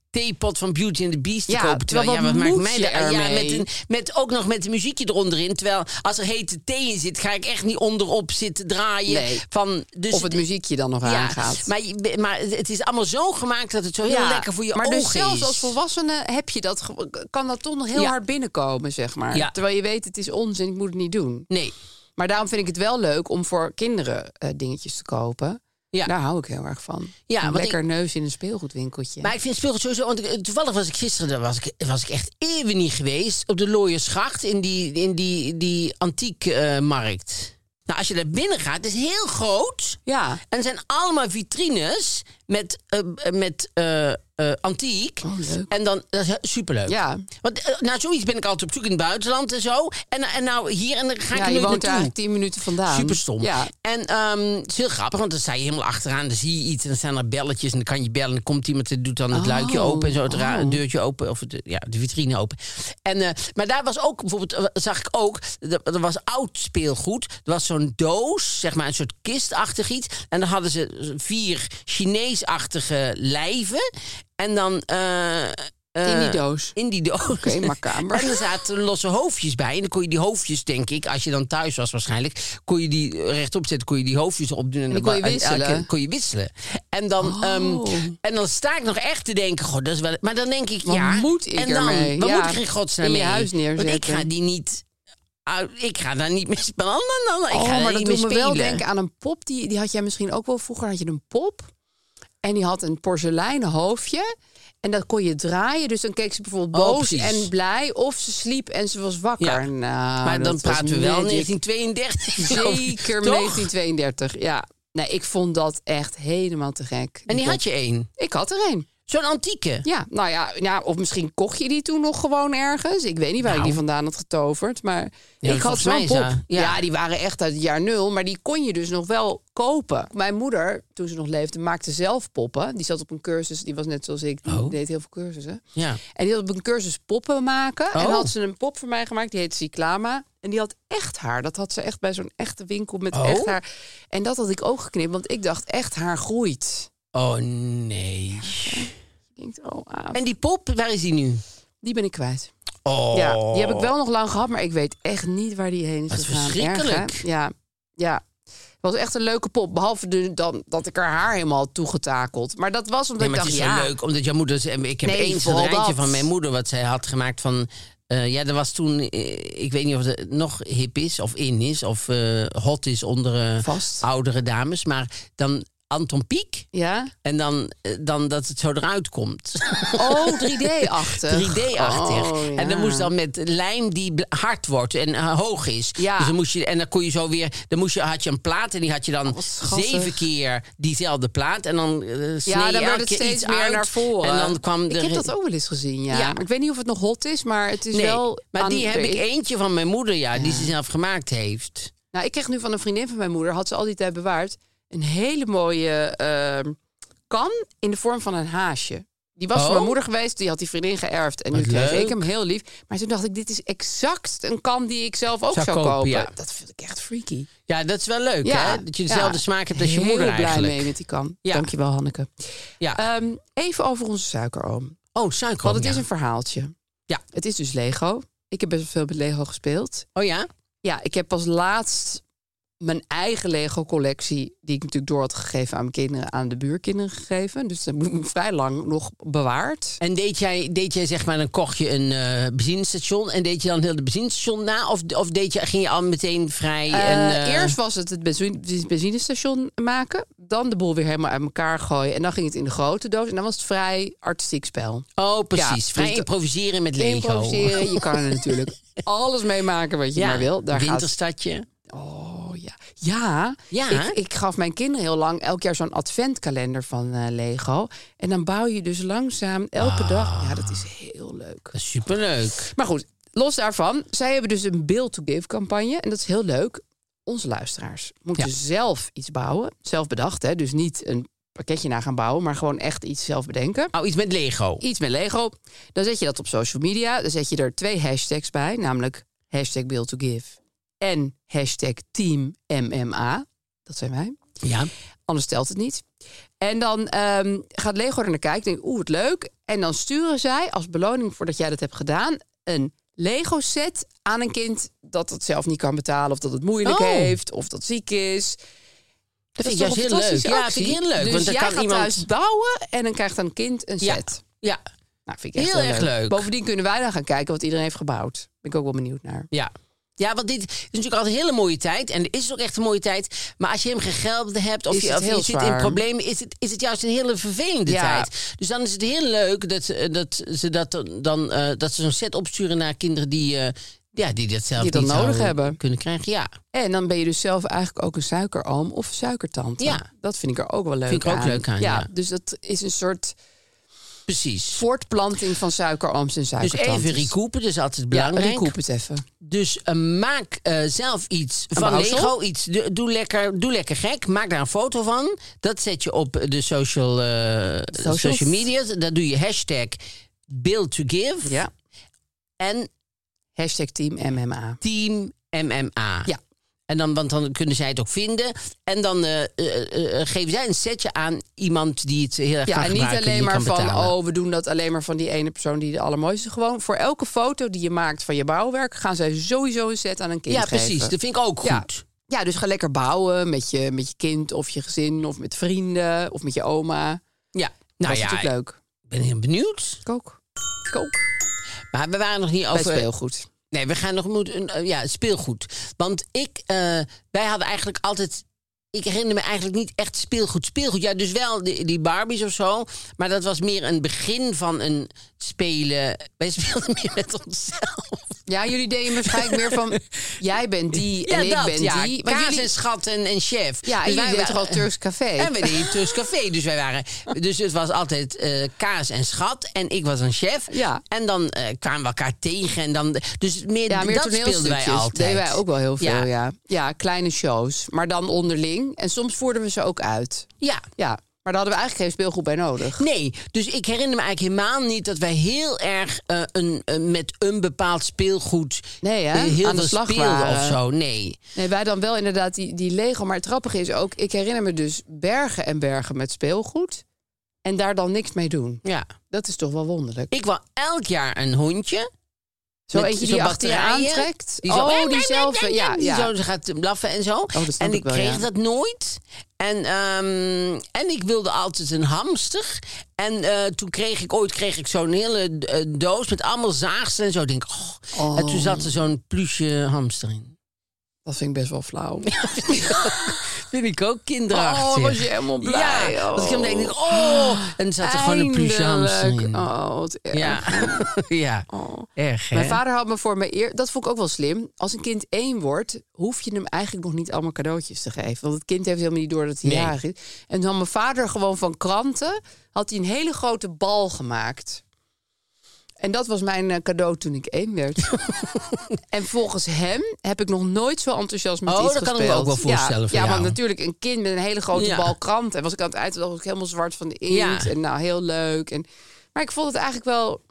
theepot van Beauty and the Beast
Ja,
te kopen. Terwijl,
terwijl
ja,
wat
wat maakt
moet
mij
je
dat uit? Ja,
ermee?
met, een, met ook nog met een muziekje eronder in. Terwijl als er hete thee in zit, ga ik echt niet onderop zitten draaien.
Nee.
Van, dus
of het muziekje dan nog aangaat.
Maar, je- maar het is allemaal zo gemaakt dat het zo heel lekker voor je
maar
ogen
dus zelfs
is.
als volwassene heb je dat, ge- kan dat toch nog heel
Ja.
hard binnenkomen, zeg maar.
Ja.
Terwijl je weet, het is onzin, ik moet het niet doen.
Nee.
Maar daarom vind ik het wel leuk om voor kinderen eh, dingetjes te kopen.
Ja.
Daar hou ik heel erg van.
Ja,
Een
want
lekker neus in een speelgoedwinkeltje.
Maar ik vind speelgoed sowieso... Want ik- eh, toevallig was ik gisteren... daar Was ik, was ik echt eeuwen niet geweest. Op de Looiersgracht. In die, in die, die antiek eh, markt. Nou, als je daar binnen gaat... Het is heel groot.
ja.
En er zijn allemaal vitrines met, eh, eh, met eh, eh, antiek.
Oh, leuk.
En dan, dat is he- superleuk.
Ja.
Want eh, naar zoiets ben ik altijd op zoek in het buitenland en zo. En, en nou hier en dan ga
ja,
ik er
je
nooit
woont
naartoe.
daar eigenlijk tien minuten vandaan.
Super stom.
Ja.
En ehm, het is heel grappig, want dan sta je helemaal achteraan. Dan zie je iets en dan staan er belletjes. En dan kan je bellen. En dan komt iemand en doet dan het
Oh,
luikje open. En zo het ra-
oh.
deurtje open. Of de, ja, de vitrine open. En, eh, maar daar was ook, bijvoorbeeld, eh, zag ik ook. Er er was oud speelgoed. Er was zo'n doos, zeg maar, een soort kistachtig iets. En dan hadden ze vier Chineesachtige lijven. En dan. eh, eh,
In die doos.
in die doos.
Oké, macaber.
En er zaten losse hoofdjes bij. En dan kon je die hoofdjes, denk ik, als je dan thuis was waarschijnlijk... kon je die eh, rechtop zetten, kon je die hoofdjes opdoen. En
die kon je
en elke-
wisselen. Oh.
kon je wisselen. En dan, ehm, en dan sta ik nog echt te denken... Goh, dat is wel... Maar dan denk ik,
Wat
ja...
moet ik
en dan,
ermee?
Wat
Ja,
moet ik er in godsnaam
in je
mee?
huis neerzetten.
Want ik ga die niet... uit- ik ga daar niet mee spelen. Dan, dan, nou, ik
oh,
ga daar
maar dat
niet
doet
mee
me wel
spelen.
denken aan een pop. Die, die had jij misschien ook wel. Vroeger had je een pop. En die had een porseleinen hoofdje. En dat kon je draaien. Dus dan keek ze bijvoorbeeld
Oh,
boos
precies.
en blij. Of ze sliep en ze was wakker.
Ja.
Nou,
maar dan
dat was
praten we wel
magic.
1932. geloof ik,
Zeker
toch?
1932, ja. Nee, ik vond dat echt helemaal te gek.
En die
pop.
had je één.
Ik had er een.
Zo'n antieke.
Ja, nou ja, ja, of misschien kocht je die toen nog gewoon ergens. Ik weet niet waar ik die vandaan had getoverd, maar ik had
Nou. volgens mij
zo'n
is
pop.
dat- ja.
Ja. die waren echt uit het jaar nul, maar die kon je dus nog wel kopen. Mijn moeder, toen ze nog leefde, maakte zelf poppen. Die zat op een cursus, die was net zoals ik, die
Oh.
deed heel veel cursussen.
Ja.
En die had op een cursus poppen maken. En
Oh.
had ze een pop voor mij gemaakt, die heette Cyclama. En die had echt haar. Dat had ze echt bij zo'n echte winkel met
Oh.
echt haar. En dat had ik ook geknipt, want ik dacht echt haar groeit.
Oh, nee.
Ik denk, oh, ah,
En die pop, waar is die nu?
die ben ik kwijt.
Oh.
Ja, die heb ik wel nog lang gehad, maar ik weet echt niet waar die heen is
Wat
gegaan. Erg, hè?
verschrikkelijk.
ja, ja. Het was echt een leuke pop. Behalve de, dan, dat ik haar haar helemaal had toegetakeld. Maar dat was omdat
Nee, maar
ik
het
dacht,
is
ja,
zo leuk, omdat jouw moeder... ze- Ik heb
Nee,
één
vooral
schilderijtje
dat.
van mijn moeder wat zij had gemaakt van... eh, ja, er was toen, eh, ik weet niet of het nog hip is of in is of eh, hot is onder eh,
Vast.
oudere dames. Maar dan Anton Pieck
ja.
en dan, eh, dan dat het zo eruit komt.
Oh, 3D-achtig.
3D-achtig.
Oh,
En dan
ja.
moest dan met lijm die bl- hard wordt en eh, hoog is.
Ja.
Dus dan moest je, en dan kon je zo weer, dan moest je, had je een plaat en die had je dan
Oh, wat schattig.
zeven keer diezelfde plaat. En dan eh, snee
Ja,
je
dan
elke
werd het
keer
steeds
iets
meer
uit.
naar voren.
En dan kwam
ik
er-
heb dat ook wel eens gezien, ja.
Ja.
Maar ik weet niet of het nog hot is, maar het is
Nee,
wel...
maar
aan-
die heb
er
ik
is-
eentje van mijn moeder, ja, die ze zelf gemaakt heeft.
Nou, ik kreeg nu van een vriendin van mijn moeder, had ze al die tijd bewaard, een hele mooie ehm, kan in de vorm van een haasje. Die was
Oh.
van mijn moeder geweest, die had die vriendin geërfd. En nu
Wat
kreeg
leuk.
ik hem heel lief. Maar toen dacht ik, dit is exact een kan die ik zelf ook
Zou
zou,
kopen,
kopen.
ja.
Dat vind ik echt freaky.
Ja, dat is wel leuk, hè? Dat je dezelfde
ja.
smaak hebt als je
Heel
moeder
blij
eigenlijk.
mee met die kan.
Ja.
Dankjewel, Hanneke.
Ja.
Ehm, even over onze suikeroom.
oh, suiker.
Want het is een verhaaltje.
Ja.
Het is dus Lego. Ik heb best wel veel met Lego gespeeld.
Oh ja?
Ja, ik heb pas laatst mijn eigen Lego-collectie, die ik natuurlijk door had gegeven aan mijn kinderen, aan de buurkinderen gegeven. Dus dat heb ik vrij lang nog bewaard.
En deed jij, deed jij zeg maar, dan kocht je een eh benzinestation en deed je dan heel de benzinestation na? Of, of deed je, ging je al meteen vrij? en,
Eh,
eh,
eerst was het het benzine- benzinestation maken, dan de boel weer helemaal uit elkaar gooien en dan ging het in de grote doos en dan was het vrij artistiek spel.
Oh,
Ja,
precies.
dus
vrij
de-
improviseren met Lego.
Improviseren, je kan er natuurlijk alles mee maken wat je maar wil. Daar gaat
winterstadje.
Oh ja. Ja,
Ja, hè?
Ik, ik gaf mijn kinderen heel lang elk jaar zo'n adventkalender van eh, Lego. En dan bouw je dus langzaam elke
Ah.
dag. Ja, dat is heel leuk.
Dat is Superleuk.
Maar goed, los daarvan. Zij hebben dus een Build to Give campagne. En dat is heel leuk. Onze luisteraars moeten
Ja.
zelf iets bouwen. Zelf bedacht, hè. Dus niet een pakketje na gaan bouwen, maar gewoon echt iets zelf bedenken.
Oh, iets met Lego.
Iets met Lego. Dan zet je dat op social media. Dan zet je er twee hashtags bij. Namelijk hashtag Build to Give en hashtag Team MMA. Dat zijn wij.
Ja.
Anders telt het niet. En dan ehm, gaat Lego er naar kijken. Denk, oeh, wat leuk. En dan sturen zij als beloning voordat jij dat hebt gedaan een Lego set aan een kind dat het zelf niet kan betalen of dat het moeilijk
Oh.
heeft of dat ziek is.
Dat vind ik juist
is toch een
heel leuk.
fantastische
Ja,
actie?
vind ik heel leuk.
Dus
want dan
jij
kan
gaat
iemand...
thuis bouwen en dan krijgt een kind een
Ja.
set.
Ja,
Nou, vind ik echt
Heel erg leuk.
Bovendien kunnen wij dan gaan kijken wat iedereen heeft gebouwd. Ben ik ook wel benieuwd naar.
ja. Ja, want dit is natuurlijk altijd een hele mooie tijd. En het is ook echt een mooie tijd. Maar als je hem geen geld hebt of
Is
je,
het
of je
heel
zit in
zwaar.
problemen, is het, is het juist een hele vervelende
Ja.
tijd. Dus dan is het heel leuk dat, ze- dat ze dat dan- dan eh, dat ze zo'n set opsturen naar kinderen die, eh, ja, die dat zelf
Die dat
niet
nodig
zouden
hebben.
kunnen krijgen. Ja,
En dan ben je dus zelf eigenlijk ook een suikeroom of suikertante.
Ja.
Dat vind ik er ook wel leuk
Vind ik er
aan.
ook leuk aan, ja.
Dus dat is een soort
precies.
voortplanting van suikerooms en
Dus
suikertantes.
even recoupen, dat is altijd
Ja,
belangrijk.
recoup het even.
Dus eh, maak eh, zelf iets van
bouwsel?
Lego. Iets. Doe, doe lekker, doe lekker gek. Maak daar een foto van. Dat zet je op de social, eh,
Socials.
social media. Daar doe je hashtag build to give.
Ja.
En
Hashtag team MMA.
team MMA.
Ja.
En dan, want dan kunnen zij het ook vinden. En dan eh, eh, eh, eh, geven zij een setje aan iemand die het heel erg kan
Ja, en niet
gebruiken, die
alleen maar
kan
van,
betalen.
oh, we doen dat alleen maar van die ene persoon die de allermooiste. Gewoon voor elke foto die je maakt van je bouwwerk gaan zij sowieso een set aan een kind
Ja,
geven.
precies. Dat vind ik ook goed.
Ja. Ja, dus ga lekker bouwen met je, met je kind of je gezin of met vrienden of met je oma.
Ja.
Nou,
Nou
dat is
ja,
natuurlijk leuk.
ik ben heel benieuwd.
Kook. Kook.
Maar we waren nog niet
Bij
over...
speelgoed.
Nee, we gaan nog moet een, eh, ja, speelgoed. Want ik, eh, wij hadden eigenlijk altijd. Ik herinner me eigenlijk niet echt speelgoed. Speelgoed, ja, dus wel die, die Barbies of zo. Maar dat was meer een begin van een spelen. Wij speelden meer met onszelf.
Ja, jullie deden waarschijnlijk meer van... jij bent die en ik
dat,
ben
ja.
die.
Kaas
Maar
en
jullie,
schat en, en chef.
ja, en
Dus
jullie
wij
deden toch al
waren-
Turks Café?
En we deden Turks Café. Dus wij waren. Dus het was altijd eh, kaas en schat. En ik was een chef.
Ja.
En dan eh, kwamen we elkaar tegen. En dan, dus meer,
ja, meer
dat speelden wij
toneelstukjes.
altijd.
Deden wij ook wel heel veel,
Ja.
ja. ja. kleine shows. Maar dan onderling. En soms voerden we ze ook uit.
Ja.
Ja, maar daar hadden we eigenlijk geen speelgoed bij nodig.
Nee, dus ik herinner me eigenlijk helemaal niet dat wij heel erg eh, een, een- met een bepaald speelgoed
Nee, hè?
eh, heel
Aan de
veel
slag
speelden
waren.
of zo. Nee.
Nee, wij dan wel inderdaad die, die Lego. Maar het grappige is ook, ik herinner me dus bergen en bergen met speelgoed. En daar dan niks mee doen.
Ja.
Dat is toch wel wonderlijk.
Ik wil elk jaar een hondje.
Zo
met
eentje
zo'n
die achter je
batterijen,
aantrekt.
Die zo,
oh, diezelfde. Ja,
die
ja. Oh,
zo gaat blaffen en zo.
dat snap
en
ik
ik
wel,
kreeg
ja.
dat nooit. En, ehm, en ik wilde altijd een hamster. En eh, toen kreeg ik ooit kreeg ik zo'n hele eh, doos met allemaal zaagsten en zo. Ik Denk, oh. En toen zat er zo'n pluche hamster in.
Dat vind ik best wel flauw.
Vind ik ook kinderachtig.
Oh, was je helemaal blij.
Ja, als ik hem
Oh.
denk, denk ik, oh. En dan zat er gewoon een pluche hamster
Eindelijk.
in.
Oh, wat erg.
Ja, ja. erg hè?
Mijn vader had me voor mijn eer... Dat vond ik ook wel slim. Als een kind één wordt, hoef je hem eigenlijk nog niet allemaal cadeautjes te geven. Want het kind heeft helemaal niet door dat hij
Nee.
jarig is. En toen had mijn vader gewoon van kranten... had hij een hele grote bal gemaakt. En dat was mijn eh, cadeau toen ik één werd. en volgens hem heb ik nog nooit zo enthousiast met
Oh,
iets
dat kan ik
gespeeld.
me ook wel voorstellen voor
Ja,
jou.
ja want natuurlijk een kind met een hele grote
Ja.
bal kranten. En was ik aan het eind was ik helemaal zwart van de inkt.
Ja.
En nou, heel leuk. En, maar ik vond het eigenlijk wel,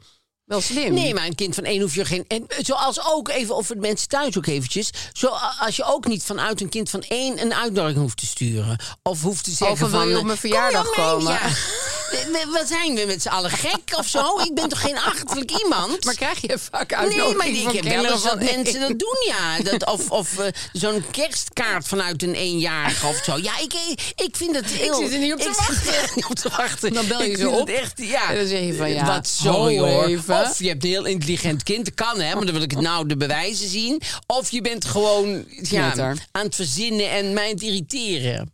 wel slim.
Nee, maar een kind van één hoef je geen... En zoals ook even, of het mensen thuis ook eventjes... Zo, als je ook niet vanuit een kind van één een uitnodiging hoeft te sturen. Of hoeft te zeggen
van, wil je
eh,
op mijn
kom je op
verjaardag
mijn-
komen?
ja. We- we- Wat zijn we met z'n allen gek of zo? Ik ben toch geen achterlijk iemand?
Maar krijg je vaak
Nee,
uitnodiging
maar ik
van
heb wel
kinderen
eens dat
van één?
mensen dat doen, ja. Dat, of of eh, zo'n kerstkaart vanuit een eenjarige of zo. Ja, ik, ik vind het heel...
zit er niet op te
ik zit er echt niet op te wachten.
Dan bel je
Ik
ze
vind het
op
echt, ja.
en dan zeg je van, ja,
Wat sorry
ho
hoor.
even.
Of je hebt een heel intelligent kind, dat kan hè, maar dan wil ik het nou de bewijzen zien. Of je bent gewoon ja,
Knetter.
aan het verzinnen en mij aan het irriteren.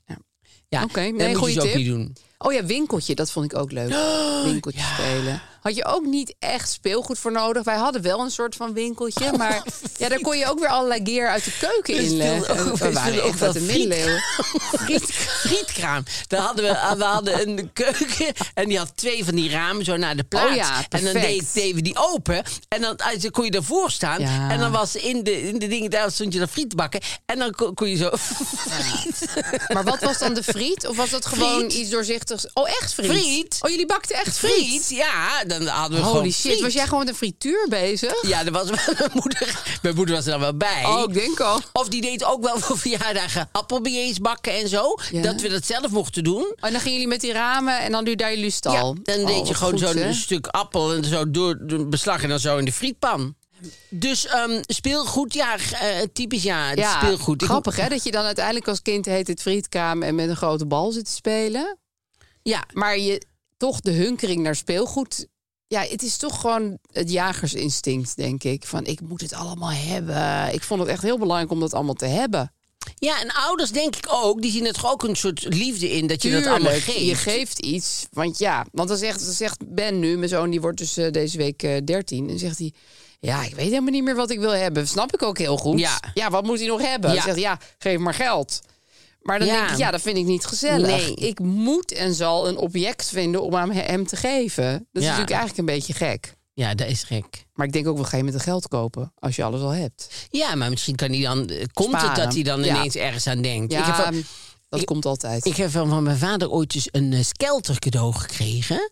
Ja,
Oké, nee,
dat moet
goeie
je dus ook
tip.
niet doen.
Oh ja, winkeltje, dat vond ik ook leuk.
Oh,
winkeltje spelen. Had je ook niet echt speelgoed voor nodig. Wij hadden wel een soort van winkeltje, maar ja, daar kon je ook weer allerlei gear uit de keuken
Oh, We
in eh,
speelden ook-
leggen.
eh, we speelden ook wel
de
friet.
middeleeuwen.
friet, frietkraam. Daar hadden we, we hadden een keuken en die had twee van die ramen zo naar de plaat.
Oh ja,
en dan
perfect.
deed- deden we die open en dan, als- dan kon je daarvoor staan.
Ja.
En dan was in de, in de dingen, daar stond je dan friet te bakken. En dan kon, kon je zo friet.
Maar wat was dan de friet? Of was dat gewoon
Friet.
iets doorzichtigs? Oh, echt friet?
Friet.
Oh, jullie bakten echt friet?
Friet, ja, dan hadden we gewoon
Holy shit,
friet.
was jij gewoon met een frituur bezig?
Ja, dat was mijn moeder. Mijn moeder was er dan wel bij.
Oh, ik denk al.
Of die deed ook wel voor verjaardagen appelbillets bakken en zo.
Ja.
Dat we dat zelf mochten doen.
En dan gingen jullie met die ramen en dan duwde daar jullie stal.
dan
Oh,
deed je
wat
gewoon
goed,
zo'n
hè?
stuk appel en zo door door beslag en dan zo in de frietpan. Dus ehm, speelgoed, ja, eh, typisch ja, het
Ja,
speelgoed. Ik-
grappig hè, dat je dan uiteindelijk als kind heet het frietkamer en met een grote bal zit te spelen.
Ja,
Maar je, toch de hunkering naar speelgoed. Ja, het is toch gewoon het jagersinstinct, denk ik. Van ik moet het allemaal hebben. Ik vond het echt heel belangrijk om dat allemaal te hebben.
ja, en ouders denk ik ook, die zien het toch ook een soort liefde in dat je dat allemaal
Tuurlijk,
geeft.
Je geeft iets. Want ja, want dan zegt, dan zegt Ben nu, mijn zoon, die wordt dus eh, deze week eh, 13. En zegt hij, ja, ik weet helemaal niet meer wat ik wil hebben. Snap ik ook heel goed.
Ja.
wat moet hij nog hebben?
Ja.
Hij zegt, ja, geef maar geld. Maar dan
Ja.
denk ik, ja, dat vind ik niet gezellig.
Nee.
Ik moet en zal een object vinden om aan hem te geven. Dat is
Ja.
natuurlijk eigenlijk een beetje gek.
Ja, dat is gek.
Maar ik denk ook wel geen met het geld kopen als je alles al hebt.
Ja, maar misschien kan hij dan, eh, komt het
Sparen.
dat hij dan
Ja.
ineens ergens aan denkt.
Ja,
ik heb wel-
dat
ehm, ik-
komt altijd.
Ik heb van, van mijn vader ooit eens een eh, skelter cadeau gekregen.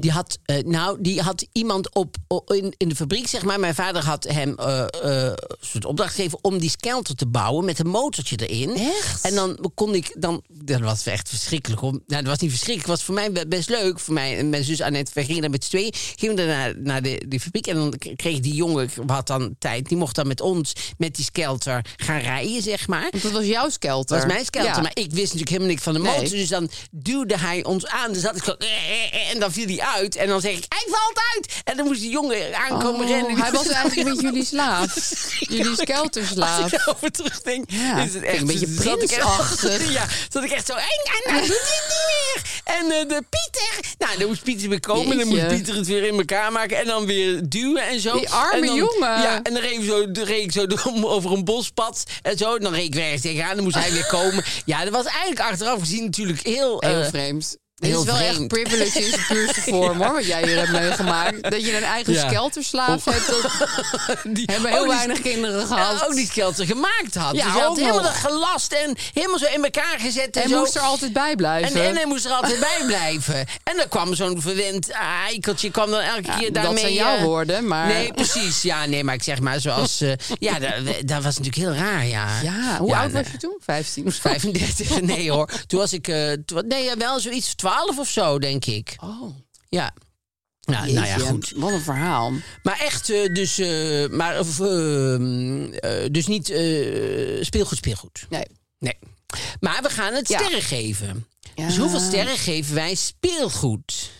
Die had, eh, nou, die had iemand op, o- in, in de fabriek, zeg maar. Mijn vader had hem eh, eh, een soort opdracht gegeven om die skelter te bouwen met een motortje erin.
Echt?
En dan kon ik, dan, dat was echt verschrikkelijk. Om, nou, dat was niet verschrikkelijk, het was voor mij be- best leuk. Voor mij en mijn zus Annette, wij gingen daar met z'n tweeën, gingen we daar naar, naar de, die fabriek. En dan k- kreeg die jongen, ik had dan tijd, die mocht dan met ons, met die skelter gaan rijden, zeg maar.
Want dat was jouw skelter.
Dat was mijn skelter,
Ja.
maar ik wist natuurlijk helemaal niks van de
Nee.
motor. Dus dan duwde hij ons aan. Dus dat ik zo, en dan viel hij uit. En dan zeg ik, hij valt uit! En dan moest die jongen aankomen
Oh,
rennen. Die
hij
moest-
was eigenlijk met jullie slaaf. Jullie
Als
skelterslaaf.
ik erover terugdenk,
Ja,
is het
klinkt
echt
een beetje
zat ik echt-
prinsachtig.
Ja, zat ik echt zo, en, en hij doet dit niet meer. En eh, de Pieter. Nou, dan moest Pieter weer komen. En dan moest
Jeetje.
Pieter het weer in elkaar maken. En dan weer duwen en zo.
Die arme
En dan-
jongen.
Ja, en dan reed ik zo, dan reed ik zo door- over een bospad en zo. En dan reed ik weer ergens tegenaan. Dan moest hij weer komen. Ja, dat was eigenlijk achteraf gezien natuurlijk heel... eh,
Heel vreemd. Dit
heel
is wel echt
vreemd.
privilege in zijn puurste vorm, hoor. Wat jij hier hebt meegemaakt. Dat je een eigen
Ja.
skelterslaaf hebt. Dat
die,
Oh. hebben
oh,
heel
die-
weinig kinderen gehad.
Ja, ook die skelter gemaakt had.
Ja,
dus hij had
ook
helemaal
nog.
dat gelast en helemaal zo in elkaar gezet. En,
en
zo.
moest er altijd bij
En,
blijven.
en hij moest er altijd bij blijven. En dan kwam zo'n verwend eikeltje, kwam dan elke
Ja,
keer
dat
daarmee...
zijn jouw
eh,
woorden, maar-
Nee, precies. Ja, nee, maar ik zeg maar zoals... eh, ja, dat, dat was natuurlijk heel raar, ja.
ja, Nou hoe oud
nee.
was je toen? 15 of zo?
35, nee hoor. Toen was ik, eh, twa- nee, ja, wel zoiets 12 of zo, denk ik.
Oh,
Ja. Nou, nou ja,
jeetje.
goed.
Wat een verhaal.
Maar echt, eh, dus, eh, maar, of, eh, eh, dus niet eh, speelgoed, speelgoed.
Nee.
Nee. Maar we gaan het
Ja.
sterren geven.
Ja.
Dus hoeveel sterren geven wij speelgoed?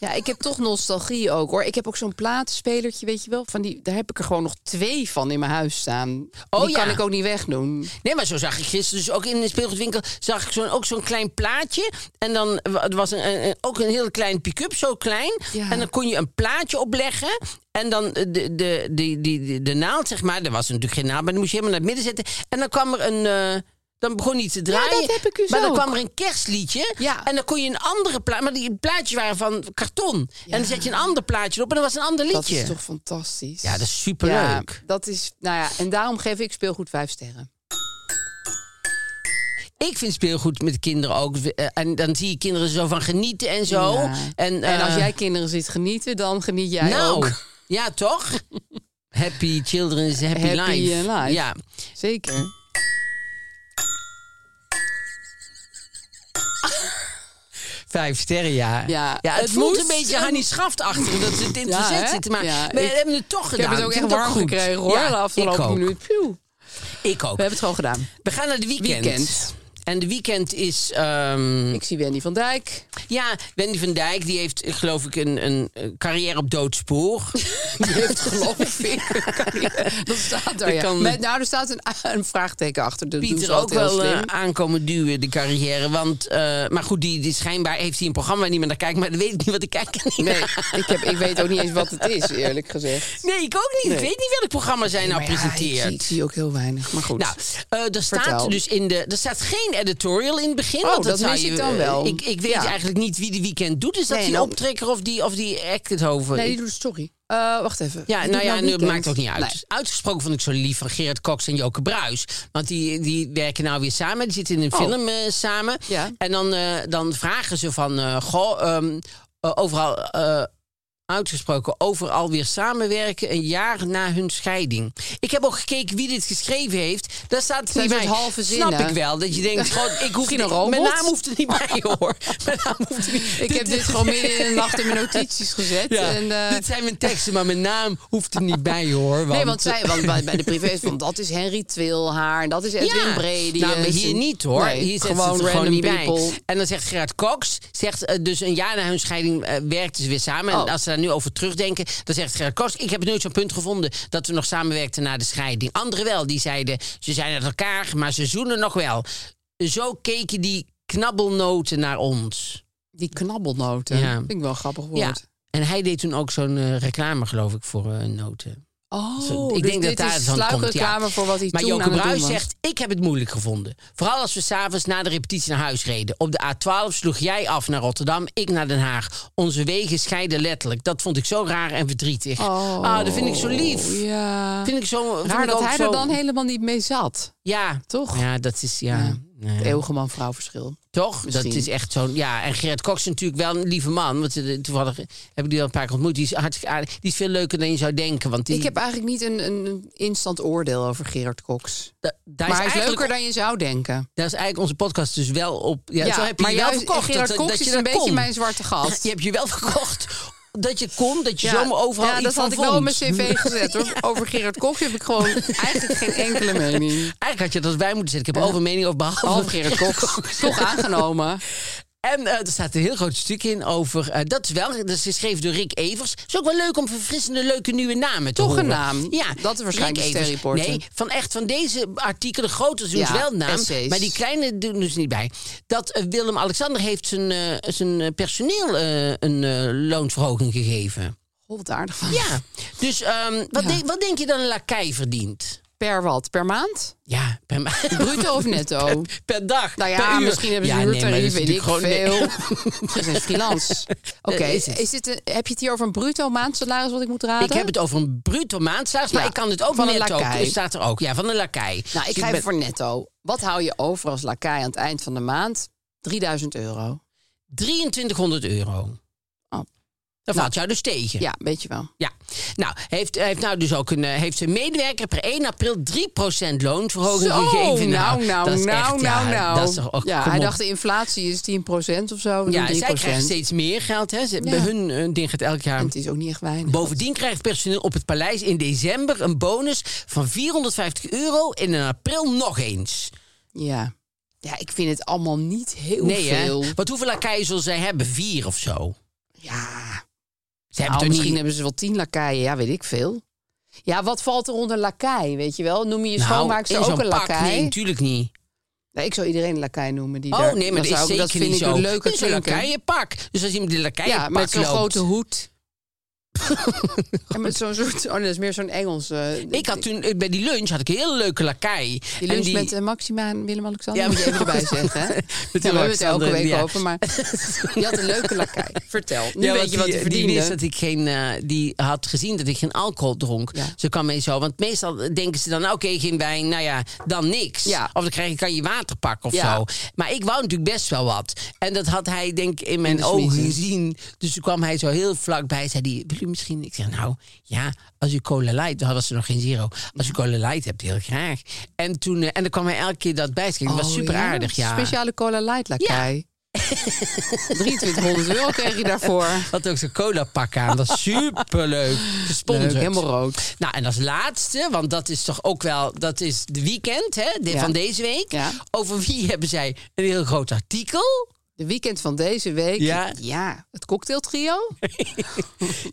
Ja, ik heb toch nostalgie ook, hoor. Ik heb ook zo'n platenspelertje, weet je wel. Van die, daar heb ik er gewoon nog twee van in mijn huis staan.
Oh,
die
ja.
kan ik ook niet wegdoen.
Nee, maar zo zag ik gisteren dus ook in de speelgoedwinkel... zag ik zo'n ook zo'n klein plaatje. En dan wa- het was een, een- een- ook een heel klein pick-up, zo klein.
Ja.
En dan kon je een plaatje opleggen. En dan eh, de, de, de, die de, de naald, zeg maar... er was natuurlijk geen naald, maar dan moest je helemaal naar het midden zetten. En dan kwam er een... eh, dan begon hij te draaien.
dat heb ik dus
Maar dan
ook.
kwam er een kerstliedje.
Ja.
En dan kon je een andere plaat... Maar die plaatjes waren van karton. En dan zet je een ander plaatje op en dan was een ander
Dat
liedje.
is toch fantastisch?
Ja, dat is superleuk.
Ja, dat is, nou ja, en daarom geef ik speelgoed vijf sterren.
Ik vind speelgoed met kinderen ook. eh, En dan zie je kinderen zo van genieten en zo.
Ja.
En,
en als
eh,
jij kinderen ziet genieten, dan geniet jij
nou,
ook.
ja toch? Happy children's happy,
Happy,
life.
eh, life.
Ja.
Zeker.
Vijf sterren, ja.
Ja,
het,
het
voelt
moest.
een beetje Hanni Schaft achter dat ze het in het
Ja,
verzet
hè?
zitten. Maar
Ja,
we
ik-
hebben het toch
Ik heb
gedaan.
het ook
Ik
echt
vind het
warm
goed.
gekregen hoor,
Ja,
de
ik
afgelopen
ook.
minuut. Pjoe.
Ik ook.
We hebben het gewoon gedaan.
We gaan naar de weekend.
Weekend.
En de weekend is... ehm,
Ik zie Wendy van Dijk.
Ja, Wendy van Dijk die heeft eh, geloof ik een, een eh, carrière op doodspoor. die heeft geloof ik.
Dat staat
Ik
daar, ja.
kan-
Met, nou, er staat een, een vraagteken achter. Dat doen ze
Pieter ook
altijd heel
wel eh,
slim.
aankomen duwen, de carrière. Want, eh, maar goed, die, die schijnbaar heeft hij een programma waar niemand naar kijkt. Maar dan weet ik niet wat ik kijk.
Nee, ik, heb, ik weet ook niet eens wat het is, eerlijk gezegd.
Nee, ik ook niet. Ik weet niet welk programma zij nou
Maar ja, ik, zie, ik
presenteert.
zie ook heel weinig, maar goed.
Nou, eh, er staat
Vertel.
dus in de. Er staat geen editorial in het begin.
Oh,
want
dat
zou
mis ik
je-
dan wel.
Ik, ik weet
Ja.
eigenlijk niet wie de weekend doet. Is dat
Nee,
die
nou-
optrekker of die, of die act het over?
nee,
Ik-
die doet sorry. Eh wacht even.
Ja,
Die
nou
doet
ja, nu, het
weekend.
maakt ook niet uit.
Nee.
Uitgesproken vond ik zo lief van Gerard Cox en Joke Bruis. Want die, die werken nou weer samen. Die zitten in een
Oh.
film eh, samen.
Ja.
En dan, eh, dan vragen ze van... eh, goh, ehm, eh, overal... eh, uitgesproken over alweer samenwerken een jaar na hun scheiding. Ik heb ook gekeken wie dit geschreven heeft. Daar staat het
Zijn
niet bij.
soort halve
Snap
zinnen.
ik wel. Dat je denkt, god, ik hoef
Misschien een
niet-
robot?
Mijn naam hoeft er niet bij, hoor. Mijn naam hoeft er niet.
Ik heb dit gewoon midden in de nacht in mijn notities gezet.
Ja,
En, eh,
dit zijn mijn teksten, maar mijn naam hoeft er niet bij, hoor. Want,
nee, want, zij, want bij, bij de privé is van dat is Henry Twilhaar en dat is Edwin
ja.
Brady.
Nou, maar hier niet hoor.
Nee,
hier zit
gewoon
het er gewoon
random
niet bij.
people.
En dan zegt Gerard Cox, zegt, eh, dus een jaar na hun scheiding eh, werkten ze weer samen. En
Oh.
als ze daar nu over terugdenken, dan zegt Gerard Cox... ik heb nooit zo'n punt gevonden dat we nog samenwerkten na de scheiding. Anderen wel, die zeiden, ze zijn uit elkaar, maar ze zoenen nog wel. Zo keken die knabbelnoten naar ons.
Die knabbelnoten.
Ja.
Vind ik wel een grappig woord.
Ja. En hij deed toen ook zo'n eh, reclame, geloof ik, voor eh, noten.
Oh,
ik
dus
denk
dit
dat daar
is
van komt. Ja.
sluikreclame voor wat hij
maar
toen
Joke
aan het doen
Bruis
was.
zegt: Ik heb het moeilijk gevonden. Vooral als we s'avonds na de repetitie naar huis reden. Op de A12 sloeg jij af naar Rotterdam, ik naar Den Haag. Onze wegen scheiden letterlijk. Dat vond ik zo raar en verdrietig. ah, dat vind ik zo lief.
Oh. Ja.
Vind ik zo. vind
Raar
ik
dat
ook
hij
zo-
er dan helemaal niet mee zat.
Ja,
Toch?
Ja, dat is. Ja. nee.
Het eeuwige man-vrouw verschil.
Toch?
Misschien.
Dat is echt zo'n... Ja, en Gerard Cox is natuurlijk wel een lieve man. Want eh, toevallig heb ik die al een paar keer ontmoet. Die is hartstikke aardig. Die is veel leuker dan je zou denken. Want die,
Ik heb eigenlijk niet een, een instant oordeel over Gerard Cox.
da- daar
maar hij is
eigenlijk
leuker dan je zou denken.
Daar is eigenlijk onze podcast dus wel op. Ja, zo heb je
maar
je wel
juist-
verkocht.
Gerard
dat,
Cox
dat je
is
daar
een beetje
kon.
mijn zwarte gat.
Je hebt je wel verkocht dat je kon, dat je
Ja,
zomaar overal
ja,
iets
dat
van
had ik
vond.
wel op mijn cv gezet. Hoor. Over Gerard Cox heb ik gewoon eigenlijk geen enkele mening.
Eigenlijk had je dat bij moeten zetten. Ik heb over mening over behalve
Behalve Gerard Cox. Toch aangenomen.
En eh, er staat een heel groot stuk in over... eh, dat is wel, dat is geschreven door Rick Evers. is ook wel leuk om verfrissende, leuke nieuwe namen te
Toch een
horen.
naam.
Ja.
Dat is waarschijnlijk
Rick
een
Evers.
sterreporter.
Nee, van echt van deze artikelen, grote doen
Ja,
ze wel een naam.
essays.
Maar die kleine doen dus niet bij. Dat eh, Willem-Alexander heeft zijn, eh, zijn eh, personeel eh, een eh, loonsverhoging gegeven.
Oh, wat aardig van.
Ja. Dus ehm, wat, Denk, wat denk je dat een lakij verdient?
Per wat? Per maand?
Ja, per, ma-
Bruto of netto?
per dag.
Nou ja,
per uur.
misschien hebben ze een
nee, maar dat
uurtarief,
is
weet ik
natuurlijk
veel.
nee.
Ze zijn freelance. Oké,
Eh, is het.
is dit een- heb je het hier over een bruto maandsalaris wat ik moet raden?
Ik heb het over een bruto maandsalaris, maar
Ja,
ik kan het ook
van een
netto.
lakij.
Het staat er ook, ja, van een lakij.
Nou, ik
Dus ben-
ga even voor netto. Wat hou je over als lakai aan het eind van de maand? 3000 euro.
2300 euro.
Oh.
Dat valt jou dus tegen.
Ja, weet je wel.
Ja. Nou, heeft, heeft nou dus ook een, eh, heeft zijn medewerker per 1 april 3% loonsverhoging
Zo,
gegeven.
nou, nou,
dat is
nou,
echt,
nou,
ja,
nou.
Dat is toch ook,
ja,
kom
hij
op.
dacht de inflatie is 10% of zo. we doen
ja,
3%.
zij krijgen steeds meer geld. Hè. Ze, Bij hun eh, ding gaat elk jaar
En het is ook niet echt weinig.
Bovendien krijgt personeel op het paleis in december een bonus van 450 euro en in april nog eens.
Ja. ja, ik vind het allemaal niet heel
nee,
veel.
hè? Want hoeveel lakaien zullen zij hebben? Vier of zo.
Ja,
Ze hebben
Nou,
toch
misschien
niet...
hebben ze wel tien lakaien. Ja, weet ik veel. Ja, wat valt er onder lakai, weet je wel? Noem je je
Nou,
schoonmaakster
in zo'n
ook een
pak?
lakai?
Nee, natuurlijk niet.
Nee, ik zou iedereen een lakai noemen. Die
Oh,
daar,
nee, maar dat, is
dan zou ik-
zeker
dat vind
niet
ik
zo.
een leuke
Dit is een lakaienpak. Dus als iemand in een
Ja,
lakaienpak
met zo'n
loopt...
grote hoed. en met zo'n soort... Oh, nee, dat is meer zo'n Engels... eh,
Ik had toen, eh, bij die lunch had ik een hele leuke lakai.
Die
En
lunch met eh, Maxima en Willem-Alexander
Ja,
moet je even
maar-
erbij zeggen. hè?
Met
Ja, we hebben het
Willem-Alexander
elke
en
week
die-
over, maar je had een leuke lakai. Vertel, nu
Ja,
weet
want
je wat
die,
hij
die
verdiende.
wist dat ik geen, eh, die had gezien dat ik geen alcohol dronk.
Ja.
Ze kwam mee zo, want meestal denken ze dan, oké, geen wijn, nou ja, dan niks.
Ja.
Of dan krijg je, kan je water pakken of
Ja.
zo. Maar ik wou natuurlijk best wel wat. En dat had hij denk ik in mijn
de
ogen
smiezen.
gezien. Dus toen kwam hij zo heel vlakbij, zei die, wil u misschien? Ik zeg, nou, ja, als u cola light, toen was ze nog geen zero. Als u cola light hebt, heel graag. En toen, eh, en dan kwam hij elke keer dat bij. Dat was
Oh,
super aardig, ja.
Speciale cola light lakai. 2300 euro kreeg je daarvoor.
Had ook zijn cola pak aan. Dat is superleuk. Gesponsord.
Leuk, helemaal rood.
Nou, en als laatste, want dat is toch ook wel... dat is de weekend hè, de-
Ja.
van deze week.
Ja.
Over wie hebben zij een heel groot artikel?
De weekend van deze week.
Ja.
het cocktailtrio.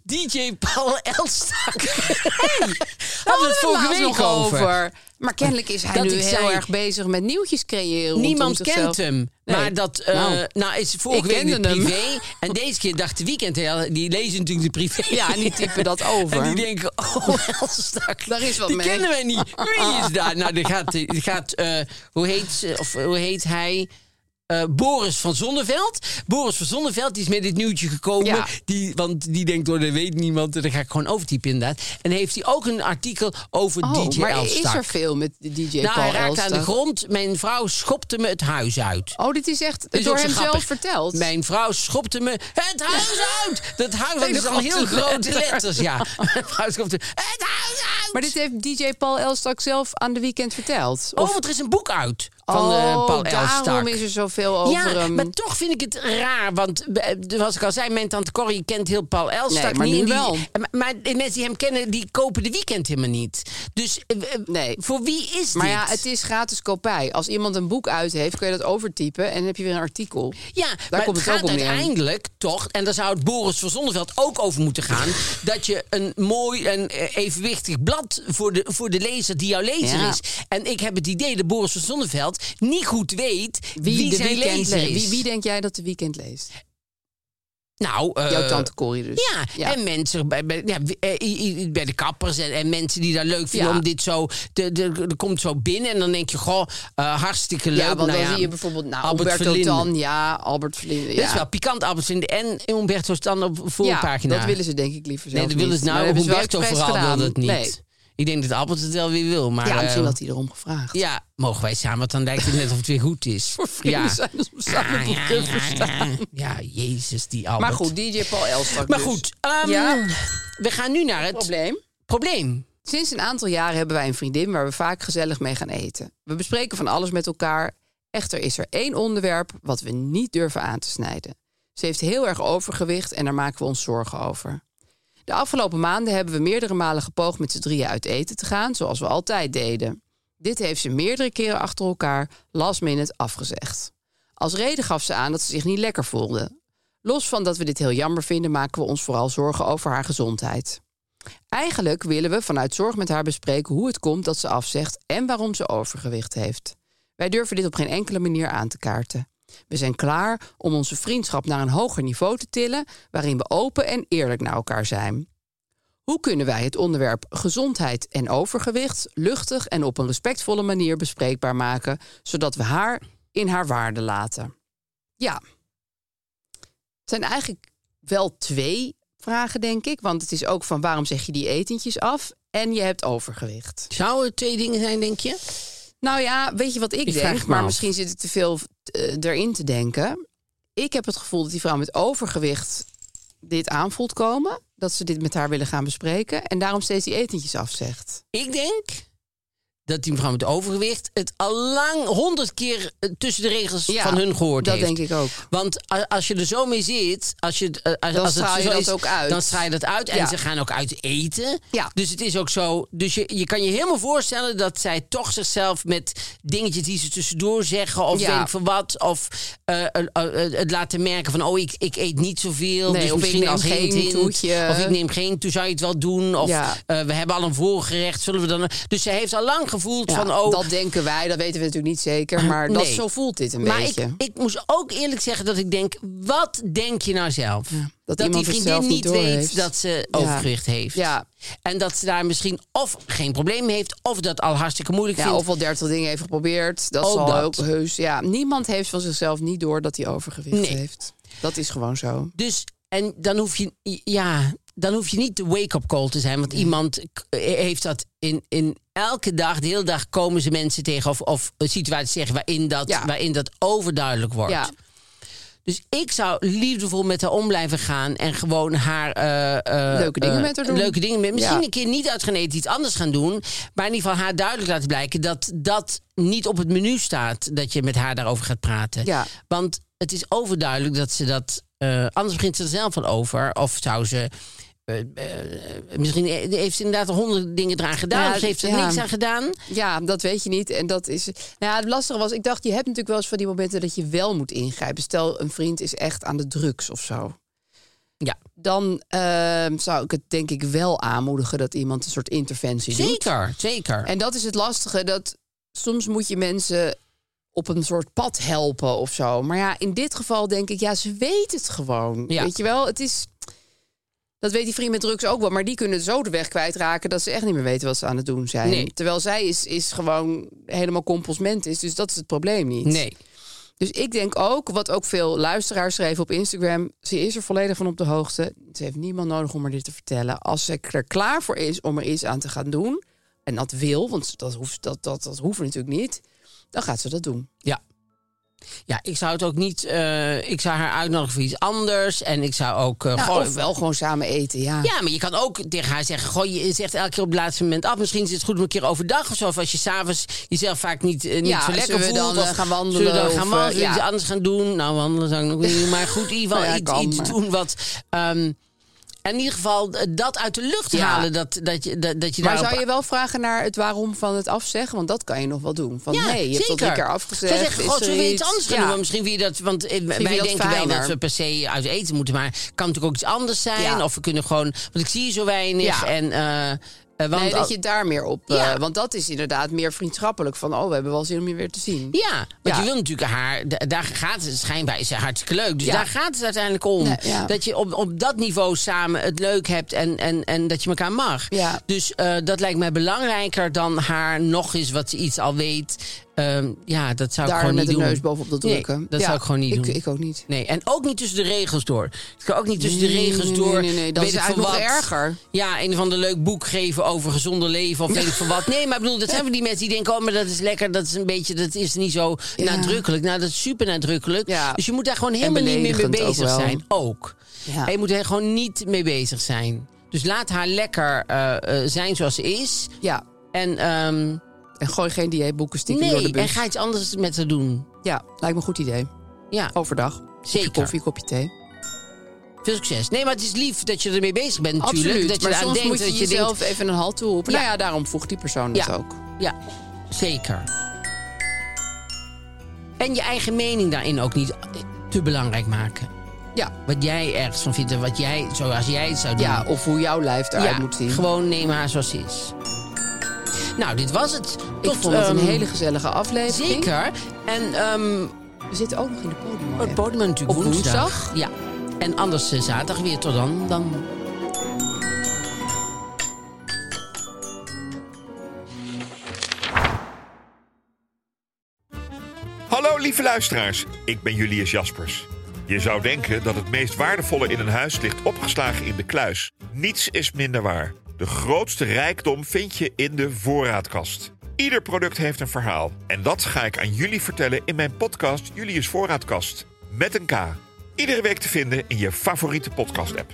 DJ Paul Elstak.
Hadden Oh,
Hadden we het vorige
laatst
week
nog over. Maar kennelijk is hij
Dat
nu
ik
heel
zei-
erg bezig met nieuwtjes creëren. rondom
Niemand
zichzelf.
kent hem.
Nee.
Maar dat, eh,
Nou.
nou, is vorige
Ik
week nu
kende hem.
privé. En deze keer dacht de weekend, hè, die lezen natuurlijk de privé.
Ja, en die typen dat over.
En die denken, oh, Elstak.
Daar is wat
die
mee.
kennen wij niet. Wie is daar? Nou, die gaat, die gaat eh, hoe, heet, ze- of, eh, hoe heet hij? Eh, eh, Boris van Zonneveld. Boris van Zonneveld die is met dit nieuwtje gekomen.
Ja.
Die, want die denkt, oh, dat weet niemand. En dan ga ik gewoon overtypen inderdaad. En heeft hij ook een artikel over
Oh,
DJ
maar
Elstak.
is er veel met DJ
nou, hij
Paul
raakte aan
Elstak?
de grond. Mijn vrouw schopte me het huis uit.
Oh, dit is echt
Dit is
door
ook zo
hem zelf
grappig.
verteld.
Mijn vrouw schopte me het huis uit. Dat huis dat
Hele
is al heel
grote
grote
letters.
letters. ja. Mijn vrouw schopte me het huis uit.
Maar dit heeft DJ Paul Elstak zelf aan de weekend verteld.
Oh, want er is een boek uit van eh,
Oh,
Paul
daarom
Elstak.
is er zoveel over
ja,
hem.
maar toch vind ik het raar. Want eh, zoals ik al zei, mijn tante Corrie kent heel Paul Elstak
Nee, maar
niet.
nu
en die-
wel.
en- Maar de mensen die hem kennen, die kopen de weekend helemaal niet. Dus eh, eh,
Nee.
voor wie is
Maar
dit?
ja, het is gratis kopij. Als iemand een boek uit heeft, kun je dat overtypen en dan heb je weer een artikel.
Ja, maar
komt
het
het ook
gaat
om neer.
uiteindelijk toch, en daar zou het Boris van Zonneveld ook over moeten gaan, dat je een mooi en eh, evenwichtig blad voor de, voor de lezer die jouw lezer
Ja.
is. En ik heb het idee dat Boris van Zonneveld niet goed weet wie,
de
zijn
weekend
lezer
le-
is.
Wie, wie denk jij dat de weekend leest?
nou, eh,
Jouw tante Corrie dus.
Ja, en mensen bij, bij, ja, eh, i- i- bij de kappers en, en mensen die dat leuk vinden
Ja.
om dit zo... de- de- Er komt zo binnen en dan denk je, goh, eh, hartstikke leuk.
Ja, want
Nou
dan
ja,
zie je bijvoorbeeld nou,
Albert
Alberto
Verlinde.
Tan. Ja, Albert Verlinde.
Dat
Ja.
is wel pikant, Albert Verlinde en Umberto Tan op voorpagina.
Ja, dat willen ze denk ik liever zelf
Nee, dat willen ze
niet. Maar
nou.
hebben ze wel
Humberto
expres
vooral wil
gedaan.
dat niet.
Nee.
Ik denk dat Albert het wel weer wil. Maar,
Ja, misschien
eh,
had hij erom gevraagd.
Ja, mogen wij samen, want dan lijkt het net of het weer goed is.
Vrienden zijn als we samen boeken verstaan.
Ja, jezus, die Albert.
Maar goed, DJ Paul Elstak
Maar
dus.
goed, ehm,
Ja.
we gaan nu naar het
Probleem.
probleem.
Sinds een aantal jaren hebben wij een vriendin waar we vaak gezellig mee gaan eten. We bespreken van alles met elkaar. Echter is er één onderwerp wat we niet durven aan te snijden. Ze heeft heel erg overgewicht en daar maken we ons zorgen over. De afgelopen maanden hebben we meerdere malen gepoogd met z'n drieën uit eten te gaan, zoals we altijd deden. Dit heeft ze meerdere keren achter elkaar last minute afgezegd. Als reden gaf ze aan dat ze zich niet lekker voelde. Los van dat we dit heel jammer vinden, maken we ons vooral zorgen over haar gezondheid. Eigenlijk willen we vanuit zorg met haar bespreken hoe het komt dat ze afzegt en waarom ze overgewicht heeft. Wij durven dit op geen enkele manier aan te kaarten. We zijn klaar om onze vriendschap naar een hoger niveau te tillen, waarin we open en eerlijk naar elkaar zijn. Hoe kunnen wij het onderwerp gezondheid en overgewicht luchtig en op een respectvolle manier bespreekbaar maken, zodat we haar in haar waarde laten? Ja, het zijn eigenlijk wel twee vragen, denk ik. Want het is ook van waarom zeg je die etentjes af en je hebt overgewicht.
Zou het twee dingen zijn, denk je?
Nou ja, weet je wat ik,
Ik vraag
denk?
me
Maar
af.
misschien zit ik te veel eh, erin te denken. Ik heb het gevoel dat die vrouw met overgewicht dit aanvoelt komen. Dat ze dit met haar willen gaan bespreken. En daarom steeds die etentjes afzegt.
Ik denk dat die mevrouw met overgewicht het al lang honderd keer eh, tussen de regels
Ja,
van hun gehoord
dat
heeft.
denk ik ook.
Want a- als je er zo mee zit, als je, eh, als,
Dan
als
straal
het
je
zo
dat
is,
ook uit.
Dan straal je dat uit en
Ja.
ze gaan ook uit eten.
Ja.
Dus het is ook zo. Dus je, je kan je helemaal voorstellen dat zij toch zichzelf met dingetjes die ze tussendoor zeggen of
Ja.
denk van wat of eh, eh, eh, het laten merken van oh ik, ik eet niet zoveel.
Nee,
dus
of ik
misschien
neem
als
geen
hint, hint,
toetje.
Of ik neem geen, toen zou je het wel doen. Of
Ja.
eh, we hebben al een voorgerecht, zullen we dan. Dus zij heeft al lang gevoeld
Ja,
van oh
Dat denken wij, dat weten we natuurlijk niet zeker. Maar dat,
Nee.
zo voelt dit een
maar
beetje.
ik, ik moest ook eerlijk zeggen dat ik denk, wat denk je nou zelf? dat die
iemand het
vriendin
zelf niet
niet weet
doorheeft.
dat ze
Ja.
overgewicht heeft.
Ja.
En dat ze daar misschien of geen probleem mee heeft, of dat al hartstikke moeilijk
Ja,
vindt.
of wel dertig dingen heeft geprobeerd. Dat
Ook
zal
dat.
ook heus. Ja, niemand heeft van zichzelf niet door dat hij overgewicht
Nee.
heeft. Dat is gewoon zo.
Dus, en dan hoef je, ja, dan hoef je niet de wake-up call te zijn. Want iemand k- eh, heeft dat in, in elke dag, de hele dag komen ze mensen tegen of, of situaties tegen waarin dat,
Ja.
waarin dat overduidelijk wordt.
Ja.
Dus ik zou liefdevol met haar om blijven gaan en gewoon haar... eh, eh,
Leuke dingen
eh,
met haar doen.
Leuke dingen met Misschien
Ja.
een keer niet uit gaan eten, iets anders gaan doen. Maar in ieder geval haar duidelijk laten blijken dat dat niet op het menu staat. Dat je met haar daarover gaat praten.
Ja.
Want het is overduidelijk dat ze dat... eh, anders begint ze er zelf van over. Of zou ze... eh, eh, misschien e-, heeft ze inderdaad honderd dingen eraan gedaan.
Ja,
of ze heeft er
ja.
niks aan gedaan.
Ja, dat weet je niet. En dat is. Nou ja, het lastige was, ik dacht, je hebt natuurlijk wel eens van die momenten dat je wel moet ingrijpen. Stel, een vriend is echt aan de drugs of zo.
Ja,
Dan ehm, zou ik het denk ik wel aanmoedigen dat iemand een soort interventie doet.
zeker. Zeker.
En dat is het lastige, dat soms moet je mensen op een soort pad helpen of zo. Maar ja, in dit geval denk ik, ja, ze weet het gewoon.
Ja.
Weet je wel, het is... Dat weet die vriend met drugs ook wel, maar die kunnen zo de weg kwijtraken... dat ze echt niet meer weten wat ze aan het doen zijn.
Nee.
Terwijl zij is, is gewoon helemaal compostment is, dus dat is het probleem niet.
nee.
Dus ik denk ook, wat ook veel luisteraars schreven op Instagram... ze is er volledig van op de hoogte. Ze heeft niemand nodig om haar dit te vertellen. Als ze er klaar voor is om er iets aan te gaan doen... en dat wil, want dat hoeft, dat, dat, dat hoeft natuurlijk niet... dan gaat ze dat doen.
Ja. Ja, ik zou het ook niet. eh, ik zou haar uitnodigen voor iets anders. En ik zou ook. eh,
Nou,
gewoon-
of wel gewoon samen eten, ja.
Ja, maar je kan ook tegen haar zeggen: Goh, je zegt elke keer op het laatste moment af. Misschien is het goed om een keer overdag of zo. Of als je s'avonds jezelf vaak niet, eh, niet
Ja,
zo lekker
zullen we
voelt.
dan,
of
eh, gaan wandelen
Zullen we dan
of,
gaan wandelen?
eh,
zullen we
ja.
iets anders gaan doen? Nou, wandelen zou ik nog niet doen. Maar goed, in ieder geval
Nou ja,
iets,
kan,
iets
maar.
doen wat. ehm, in ieder geval eh, dat uit de lucht
Ja.
halen. Dat, dat je, dat, dat je
Maar
daarop-
zou je wel vragen naar het waarom van het afzeggen? Want dat kan je nog wel doen. Van
Ja,
nee, je hebt
zeker.
dat drie keer afgezegd.
Zou je zeggen,
is
god,
er
zullen we iets anders gaan doen?
Ja.
Want Misschien weer dat, want eh,
je
wij
dat
denken wel
fijner?
dat we per se uit eten moeten, maar het kan natuurlijk ook iets anders zijn.
Ja.
Of we kunnen gewoon, want ik zie je zo weinig.
Ja.
En, eh, eh, want
nee, dat
al-
je daar meer op...
Ja.
eh, want dat is inderdaad meer vriendschappelijk. Van, oh, we hebben wel zin om je weer te zien.
Ja, want
Ja.
je wil natuurlijk haar, da- daar gaat het schijnbaar, is ze hartstikke leuk. Dus
Ja.
daar gaat het uiteindelijk om.
Nee, ja.
Dat je op, op dat niveau samen het leuk hebt en, en, en dat je elkaar mag.
Ja.
Dus eh, dat lijkt mij belangrijker dan haar nog eens wat ze iets al weet. Ehm, ja, dat zou ik
Daar
gewoon
met
niet
de
doen.
neus bovenop dat
Nee,
drukken.
dat
Ja,
zou ik gewoon niet
ik,
doen.
Ik ook niet.
Nee, en ook niet tussen de regels door. Ik kan ook niet tussen de
Nee,
regels
nee,
door.
nee, nee, nee, dat
weet
is
ik
eigenlijk
veel
nog
wat.
erger.
Ja, een van de leuk boek geven over gezonder leven of weet ik veel wat. Nee, maar ik bedoel, dat zijn van die mensen die denken, oh, maar dat is lekker, dat is een beetje, dat is niet zo
Ja.
nadrukkelijk. Nou, dat is super nadrukkelijk.
Ja.
Dus je moet daar gewoon helemaal niet mee
beledigend ook
bezig
wel.
zijn. Ook.
Ja.
En je moet er gewoon niet mee bezig zijn. Dus laat haar lekker eh, eh, zijn zoals ze is.
Ja,
En ehm,
en gooi geen dieetboeken stiekem door de
nee,
bus.
en ga iets anders met haar doen.
Ja, lijkt me een goed idee.
Ja,
Overdag.
Zeker.
Kopje koffie, kopje thee.
veel succes. Nee, maar het is lief dat je ermee bezig bent natuurlijk.
Absoluut.
dat je
maar
eraan
soms
denkt,
moet je
dat je denkt,
jezelf even een halt toe roepen.
Ja.
Nou ja, daarom voegt die persoon
Ja.
dat ook.
Ja, zeker. En je eigen mening daarin ook niet te belangrijk maken.
Ja.
Wat jij ergens van vindt en wat jij, zoals jij het zou doen.
ja, of hoe jouw lijf eruit
Ja,
moet zien.
gewoon neem haar zoals ze is. Nou, dit was het.
ik
Tot,
vond het een
ehm,
hele gezellige aflevering.
Zeker. En ehm
We zitten ook nog in de podium.
het podium natuurlijk
Op woensdag?
Ja. En anders eh, zaterdag weer. Tot dan. dan.
Hallo lieve luisteraars, ik ben Julius Jaspers. Je zou denken dat het meest waardevolle in een huis ligt opgeslagen in de kluis. Niets is minder waar. De grootste rijkdom vind je in de voorraadkast. Ieder product heeft een verhaal. En dat ga ik aan jullie vertellen in mijn podcast Julius Voorraadkast. Met een K. Iedere week te vinden in je favoriete podcast-app.